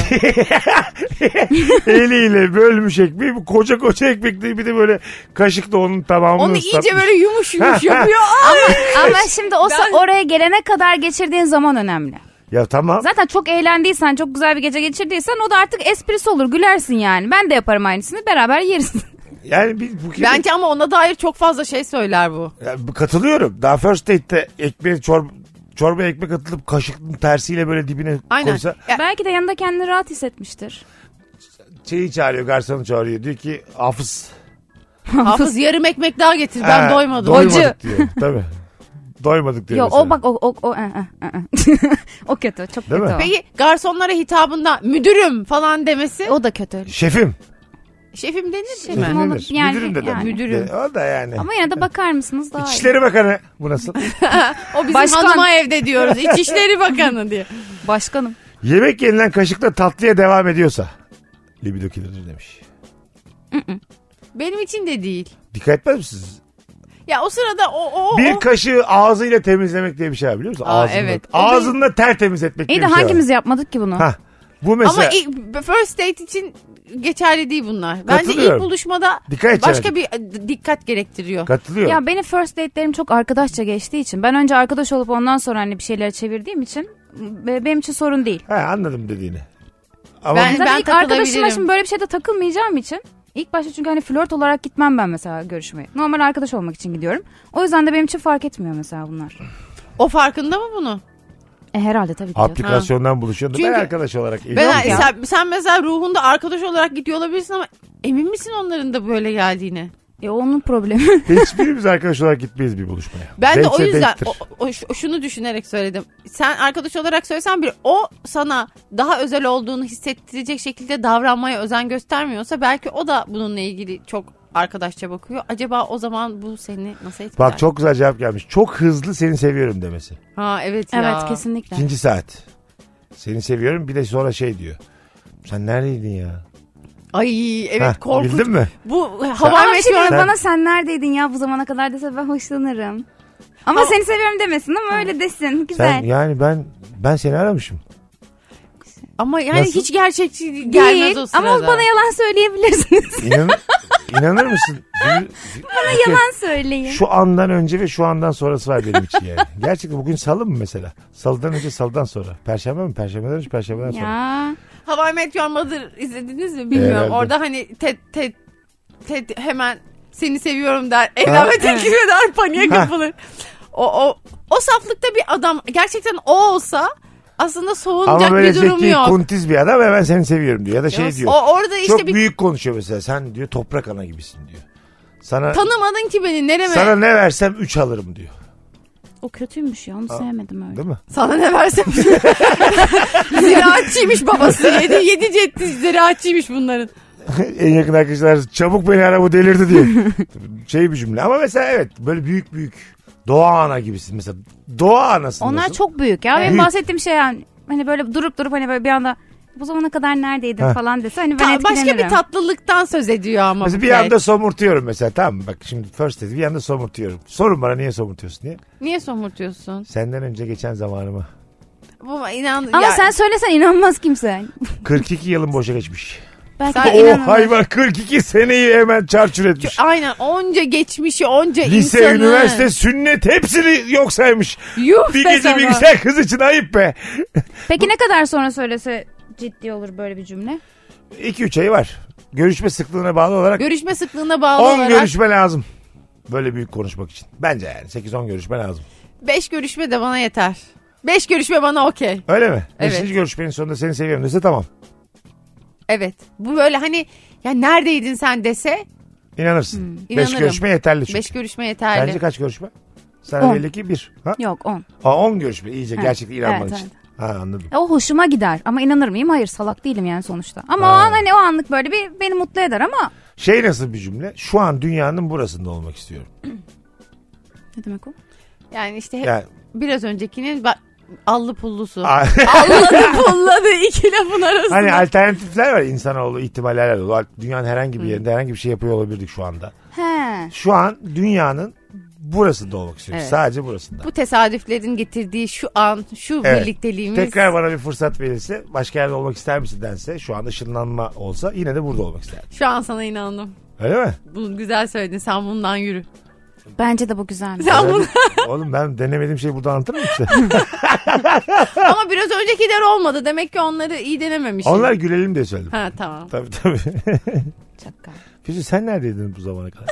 eliyle bölmüş ekmeği bu koca koca ekmek değil bir de böyle kaşıkla onun tamamını Onu ıslatmış. iyice böyle yumuş yumuş Ha, ha. yapıyor. Ay! Ama şimdi o sa- Ben- oraya gelene kadar geçirdiğin zaman önemli. Ya tamam Zaten çok eğlendiysen, çok güzel bir gece geçirdiysen o da artık esprisi olur. Gülersin yani. Ben de yaparım aynısını. Beraber yeriz. yani bir, bu Bence ama ona dair çok fazla şey söyler bu. Ya, bu- katılıyorum daha first date'te ekmeği çorba Çorba ekmek atılıp kaşıkın tersiyle böyle dibine Aynen. koysa Ya, Belki de yanında kendini rahat hissetmiştir. şeyi çağırıyor garsonu çağırıyor diyor ki hafız Hafız yarım ekmek daha getir ben Ha, doymadım. Doymadık Acı. diyor. Tabii. Doymadık diyor. Yo mesela. o bak o o o eh, ı, ı, ı, ı. o kötü çok Değil mi? kötü. o. Peki garsonlara hitabında müdürüm falan demesi. o da kötü. Şefim. Şefim denir Şefim mi? ol- Denir. Yani- Müdürüm de yani. denir. Müdürüm. De- O da yani. Ama yine de bakar mısınız daha iyi. İçişleri Bakanı. Bu nasıl? O bizim Başkan. hanıma evde diyoruz. İçişleri Bakanı diye. Başkanım. Yemek yenilen kaşıkla tatlıya devam ediyorsa. Libido kilidir demiş. Benim için de değil. Dikkat etmez misiniz? Ya o sırada o o o. Bir kaşığı ağzıyla temizlemek diye bir şey var biliyor musun? Aa, ağzında, evet. O da- ağzında tertemiz etmek İyi diye de bir şey hangimiz yapmadık ki bunu? var. Hah. Bu mesela Ama ilk- first date için geçerli değil bunlar. Bence ilk Katılıyorum. buluşmada Dikkat edeceğim. başka bir e, dikkat gerektiriyor. katılıyor. Ya benim first date'lerim çok arkadaşça geçtiği için ben önce arkadaş olup ondan sonra hani bir şeyler çevirdiğim için be- benim için sorun değil. Ha, anladım dediğini. Ama Ben- Zaten ilk arkadaşımla takılabilirim. şimdi böyle bir şeyde takılmayacağım için ilk başta çünkü hani flört olarak gitmem ben mesela görüşmeye. Normal arkadaş olmak için gidiyorum. O yüzden de benim için fark etmiyor mesela bunlar. O farkında mı bunu? E herhalde tabii ki. canım. aplikasyondan buluşuyordu. Ben Çünkü- arkadaş olarak Ben, eğlendim. sen, sen mesela ruhunda arkadaş olarak gidiyor olabilirsin ama emin misin onların da böyle geldiğini? E onun problemi. Hiçbirimiz arkadaş olarak gitmeyiz bir buluşmaya. Ben de o Date'se yüzden date'tir. o- o- şu- şunu düşünerek söyledim. Sen arkadaş olarak söylesen bir o sana daha özel olduğunu hissettirecek şekilde davranmaya özen göstermiyorsa belki o da bununla ilgili çok arkadaşça bakıyor. Acaba o zaman bu seni nasıl etkiler? Bak çok güzel cevap gelmiş. Çok hızlı seni seviyorum demesi. Ha evet ya. evet kesinlikle. İkinci saat. Seni seviyorum bir de sonra şey diyor. Sen neredeydin ya? Ay evet Hah, korkunç. Bildin mi? Bu Ama hava bir şey diyeyim, meteoru. Sen- bana sen neredeydin ya bu zamana kadar dese ben hoşlanırım. Ama seni seviyorum demesin ama öyle desin. Güzel. Sen yani ben ben seni aramışım. Ama yani Nasıl? hiç gerçekçi gelmez Değil o sırada. ama bana yalan söyleyebilirsiniz. İnan, inanır mısın? Bana yalan söyleyin. Şu andan önce ve şu andan sonrası var benim için yani. Gerçekten bugün salı mı mesela? Salıdan önce salıdan sonra. Perşembe mi? Perşembeden önce perşembeden sonra. Ya Hava Meteor Mother izlediniz mi bilmiyorum. Herhalde. Orada hani Ted Ted Ted hemen seni seviyorum der. Evlenme teklif eder paniğe Ha. kapılır. O, o, o saflıkta bir adam gerçekten o olsa aslında soğunacak Ama böyle bir durum zeki, yok. kuntiz bir adam hemen seni seviyorum diyor. Ya da şey Yok. diyor. O orada işte çok bir büyük konuşuyor mesela. Sen diyor toprak ana gibisin diyor. Sana tanımadın ki beni nereme. sana Sana, ne versem 3 alırım diyor. o kötüymüş ya onu sevmedim öyle. Değil mi? ne versem. ziraatçıymış babası. Yedi, yedi cetti ziraatçıymış bunların. en yakın arkadaşlar çabuk beni ara bu delirdi diyor. şey bir cümle. Ama mesela evet böyle büyük büyük doğa ana gibisin mesela. Doğa anasın. Onlar nasıl? çok büyük ya. Benim Büyük. bahsettiğim şey yani hani böyle durup durup hani böyle bir anda bu zamana kadar neredeydin Ha. falan dese hani ben Ta- etkilenirim. başka bir tatlılıktan söz ediyor ama. Mesela bu bir kez. anda somurtuyorum mesela tamam mı? Bak şimdi first dedi bir anda somurtuyorum. Sorun bana niye somurtuyorsun diye. Niye somurtuyorsun? Senden önce geçen zamanımı. Bu inan. Ama ya- sen söylesen inanmaz kimse. 42 yılım boşa geçmiş. Belki Sen- de o inanır. Oh, hayvan 42 seneyi hemen çarçur etmiş. Aynen onca geçmişi onca Lise, insanı. üniversite, sünnet hepsini yok saymış. Yuh Bir be gece sana. bir güzel kız için ayıp be. Peki ne kadar sonra söylese ciddi olur böyle bir cümle? 2-3 ay var. Görüşme sıklığına bağlı olarak Görüşme sıklığına bağlı 10 olarak görüşme lazım. Böyle büyük konuşmak için. Bence yani 8-10 görüşme lazım. 5 görüşme de bana yeter. 5 görüşme bana okey. Öyle mi? Evet. Beşinci görüşmenin sonunda seni seviyorum dese tamam. Evet. Bu böyle hani ya neredeydin sen dese İnanırsın. Beş inanırım. görüşme yeterli çünkü. 5 görüşme yeterli. Bence kaç görüşme? Sana On. belli ki bir. Ha? Yok 10. Aa, on görüşme iyice gerçekten inanman evet, için. Ha anladım. E, o hoşuma gider ama inanır mıyım? Hayır salak değilim yani sonuçta. Ama o Ha. an hani o anlık böyle bir beni mutlu eder ama Şey nasıl bir cümle? Şu an dünyanın burasında olmak istiyorum. ne demek o? Yani işte hep Yani, hani biraz öncekinin bak allı pullusu. Aa, Alladı pulladı iki lafın arasında. hani alternatifler var insanoğlu ihtimaller var. Dünyanın herhangi bir yerinde herhangi bir şey yapıyor olabilirdik şu anda. He. Şu an dünyanın burasında olmak istiyorum. Evet. Sadece burasında. Bu tesadüflerin getirdiği şu an, şu Evet. birlikteliğimiz. Tekrar bana bir fırsat verilse başka yerde olmak ister misin dense şu an ışınlanma olsa yine de burada olmak isterdim. Şu an sana inandım. Öyle mi? Bunu güzel söyledin. Sen bundan yürü. Bence de bu güzelmiş. Sen bunu Oğlum ben denemediğim şeyi burada anlatırım işte. şey- Ama biraz öncekiler olmadı. Demek ki onları iyi denememişim. Onlar gülelim diye söyledim. Ha tamam. Tabii tabii. Çakal. Füsun sen neredeydin bu zamana kadar?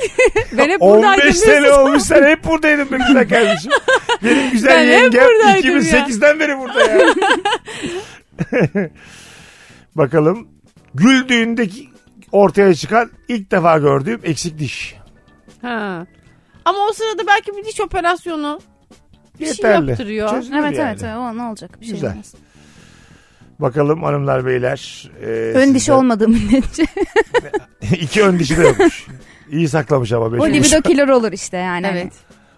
Ben hep 15 sene olmuş sen hep buradaydın be güzel kardeşim. Benim güzel Ben hep yengem buradaydım ya. 2008'den beri burada ya. Bakalım güldüğündeki ortaya çıkan ilk defa gördüğüm eksik diş. Ha. Ama o sırada belki bir diş operasyonu bir Yeterli. şey yaptırıyor. Çözülür Evet yani. evet o ne olacak bir şey Güzel. olmaz. Bakalım hanımlar beyler. e, Ön sizden- dişi olmadığı müddetçe. İki ön dişi de yokmuş. İyi saklamış ama. o beş kuruş. libido killer olur işte yani. hani. Evet.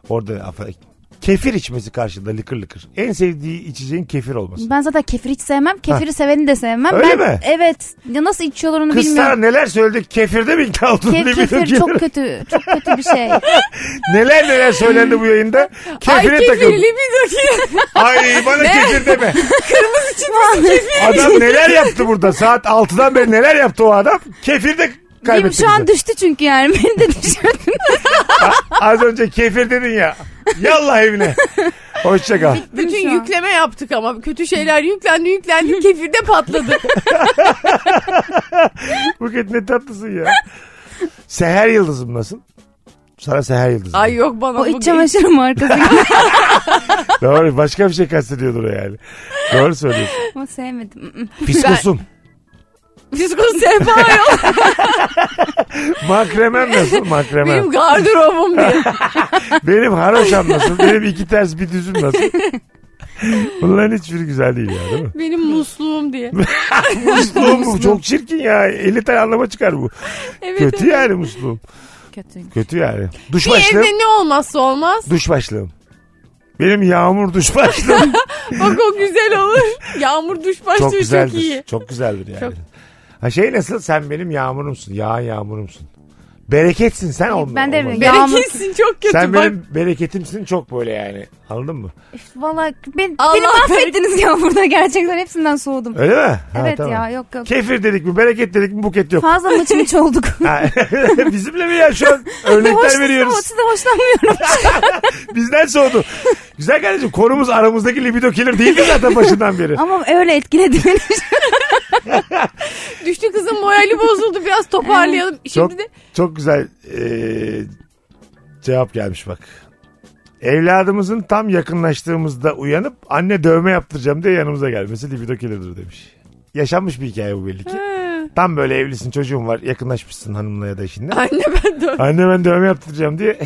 Orada aferin. kefir içmesi karşında lıkır lıkır. En sevdiği içeceğin kefir olması. Ben zaten kefir hiç sevmem. Kefiri seveni de sevmem. Öyle ben, mi? Evet. Ya nasıl içiyorlar onu Kız sana bilmiyorum. neler söyledi kefirde mi ikna oldun? Ke- Libido kefir killer. çok kötü. Çok kötü bir şey. Neler neler söylendi bu yayında. Kefire Ay takıldı. kefirli bir dakika. Ay bana kefir deme. Adam neler yaptı burada? Saat 6'dan beri neler yaptı o adam? Kefir de Benim kaybetti. şu an bizi. düştü çünkü yani. Beni de düşürdün. Az önce kefir dedin ya. Yallah evine. Hoşça kal. şu Bütün an. yükleme yaptık ama kötü şeyler yüklendi yüklendi kefirde patladı. Buket ne tatlısın ya. Seher yıldızım nasıl? Sana seher yıldızım. Ay yok bana o bu iç çamaşırı markası gibi. Doğru başka bir şey kastediyordur o yani. Doğru söylüyorsun. Ama sevmedim. Fiskosum. Fiskon sefa yok Makremem nasıl? Makremem. benim Benim, gardırobum diye. haroşam nasıl? Benim iki ters bir düzüm nasıl? Bunların hiçbiri güzel değil ya değil mi? Benim musluğum diye. Musluğum bu çok çirkin ya. 50 tane anlama çıkar bu. Evet, Kötü yani musluğum. Kötü. Kötü yani. Duş Bir başlığım. evde ne olmazsa olmaz. Duş başlığım. Benim yağmur duş başlığım. Bak o güzel olur. Yağmur duş başlığı çok çok, güzeldir. Çok, iyi. güzeldir yani. Çok- Ha şey nasıl sen benim yağmurumsun. Yağan yağmurumsun. Bereketsin sen olma. ben de- olma. ben- Yağmur- Bereketsin çok kötü. Sen bak. benim bereketimsin çok böyle yani. Anladın mı? Valla ben, Allah beni mahvettiniz ya burada gerçekten hepsinden soğudum. Öyle mi? Ha, evet tamam. ya yok yok. Kefir dedik mi, bereket dedik mi buket yok. Fazla mıç mıç olduk. Ha, Bizimle mi ya şu an örnekler Hoşsuzum, veriyoruz. Size hoşlanmıyorum. Bizden soğudu. Güzel kardeşim konumuz aramızdaki libido killer değildi zaten başından beri. Ama öyle etkiledi beni. Düştü kızın morali bozuldu biraz toparlayalım. Çok, Şimdi de çok güzel eee, cevap gelmiş bak. Evladımızın tam yakınlaştığımızda uyanıp anne dövme yaptıracağım diye yanımıza gelmesi libido killer'dır demiş. Yaşanmış bir hikaye bu belli ki. Tam böyle evlisin çocuğun var yakınlaşmışsın hanımla ya da eşinle. anne ben de Anne ben dövme yaptıracağım diye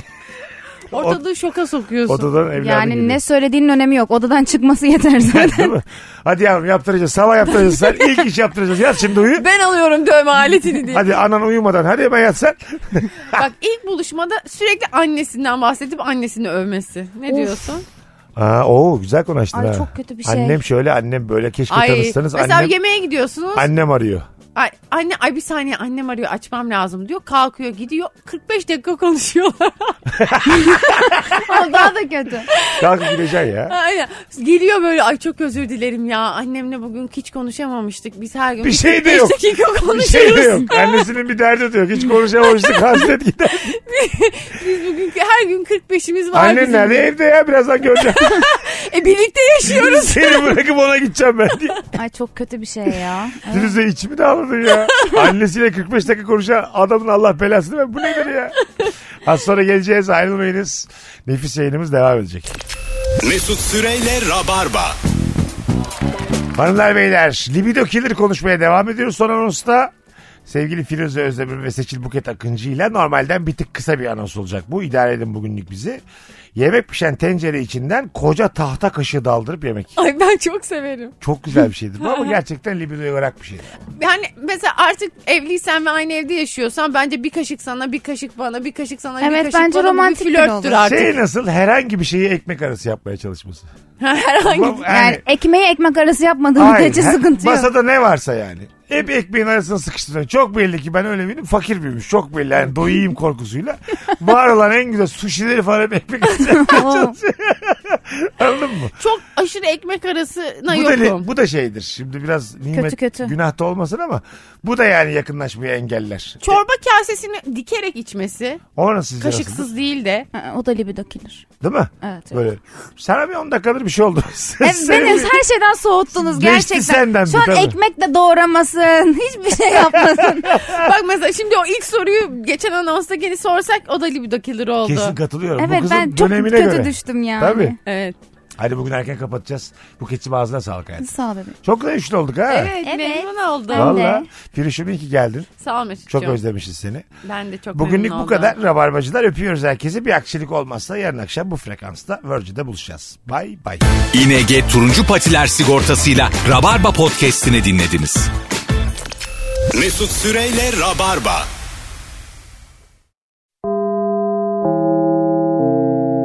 ortalığı şoka sokuyorsun. odadan evladı Yani geliyor. ne söylediğinin önemi yok. Odadan çıkması yeter zaten. Değil mi? Hadi yavrum yaptıracağız. Sabah yaptıracağız. Sen ilk iş yaptıracağız. Yat şimdi uyu. Ben alıyorum dövme aletini diye. Hadi anan uyumadan. Hadi hemen yat sen. Bak ilk buluşmada sürekli annesinden bahsedip annesini övmesi. Ne Of. diyorsun? Aa, oo, güzel konuştun Ay, ha. çok kötü bir şey. Annem şöyle annem böyle keşke Ay tanışsanız. mesela Annem, yemeğe gidiyorsunuz. annem arıyor. Ay, anne ay bir saniye annem arıyor açmam lazım diyor. Kalkıyor gidiyor 45 dakika konuşuyorlar. O daha da kötü. Kalkıp gideceksin ya. Aynen. Geliyor böyle ay çok özür dilerim ya annemle bugün hiç konuşamamıştık. Biz her gün Bir şey de 45 yok. dakika Bir şey de konuşuyoruz. yok. Annesinin bir derdi de yok. Hiç konuşamamıştık. Hasret gider. Biz bugün her gün 45'imiz var Annen bizim. nerede? Evde ya. Birazdan göreceğim. E birlikte yaşıyoruz. Seni bırakıp ona gideceğim ben diye. Ay çok kötü bir şey ya. Evet. Dün de içimi de ağladım ya. Annesiyle 45 dakika konuşan adamın Allah belasını ver. Bu nedir ya? Az sonra geleceğiz. Ayrılmayınız. Nefis yayınımız devam edecek. Mesut Süreyle Rabarba. Hanımlar beyler libido killer konuşmaya devam ediyoruz. Son anonsta sevgili Firuze Özdemir ve Seçil Buket Akıncı ile normalden bir tık kısa bir anons olacak. Bu idare edin bugünlük bizi. Yemek pişen tencere içinden koca tahta kaşığı daldırıp yemek. Ay ben çok severim. Çok güzel bir şeydir bu ama gerçekten libidoya olarak bir şey. Yani mesela artık evliysen ve aynı evde yaşıyorsan bence bir kaşık sana, bir kaşık bana, bir kaşık sana, bir Evet, kaşık bence bana. Bu bir romantik bir flörttür olur. artık. Şey nasıl herhangi bir şeyi ekmek arası yapmaya çalışması. Herhangi bir... Bu- Yani ekmeği ekmek arası yapmadığım Aynen. müddetçe sıkıntı yok. Masada ne varsa yani. Hep ekmeğin arasına sıkıştırıyor. Çok belli ki ben öyle biriyim. Fakir büyümüş. Çok belli. Yani doyayım korkusuyla. Var olan en güzel suşileri falan hep ekmek arasına çalışıyor. Anladın mı? Çok aşırı ekmek arasına Bu da, yokum. li- bu da şeydir. Şimdi biraz nimet Kötü kötü. günah da olmasın ama bu da yani yakınlaşmayı engeller. Çorba kasesini dikerek içmesi, O nasıl sizce nasıl? kaşıksız değil de. Ha, O da libido killer. Değil mi? Evet. evet. Böyle. Sana bir 10 dakikadır bir şey oldu. Sen- Evet, sen- beni her şeyden soğuttunuz Geçti gerçekten. senden Şu bir an tabii. ekmek de doğramasın. Hiçbir şey yapmasın. Bak mesela şimdi o ilk soruyu geçen anonsta gene sorsak o da libido killer oldu. Kesin katılıyorum. bu evet kızın ben çok dönemine kötü göre. düştüm yani. Tabii. Evet. Hadi bugün erken kapatacağız. Bu keçim ağzına sağlık hayatım. Sağ ol bebeğim. Çok da üçlü olduk ha. Evet, Evet. memnun oldum. Ben de. Valla. Firuş'um iyi ki geldin. Sağ ol Mesut'cum. Çok özlemişiz seni. Ben de çok Bugünlük memnun bu oldum. kadar. Rabarbacılar öpüyoruz herkesi. Bir aksilik olmazsa yarın akşam bu frekansta Virgin'de buluşacağız. Bay bay. ING Turuncu Patiler Sigortası'yla Rabarba Podcast'ini dinlediniz. Mesut Süreyle Rabarba.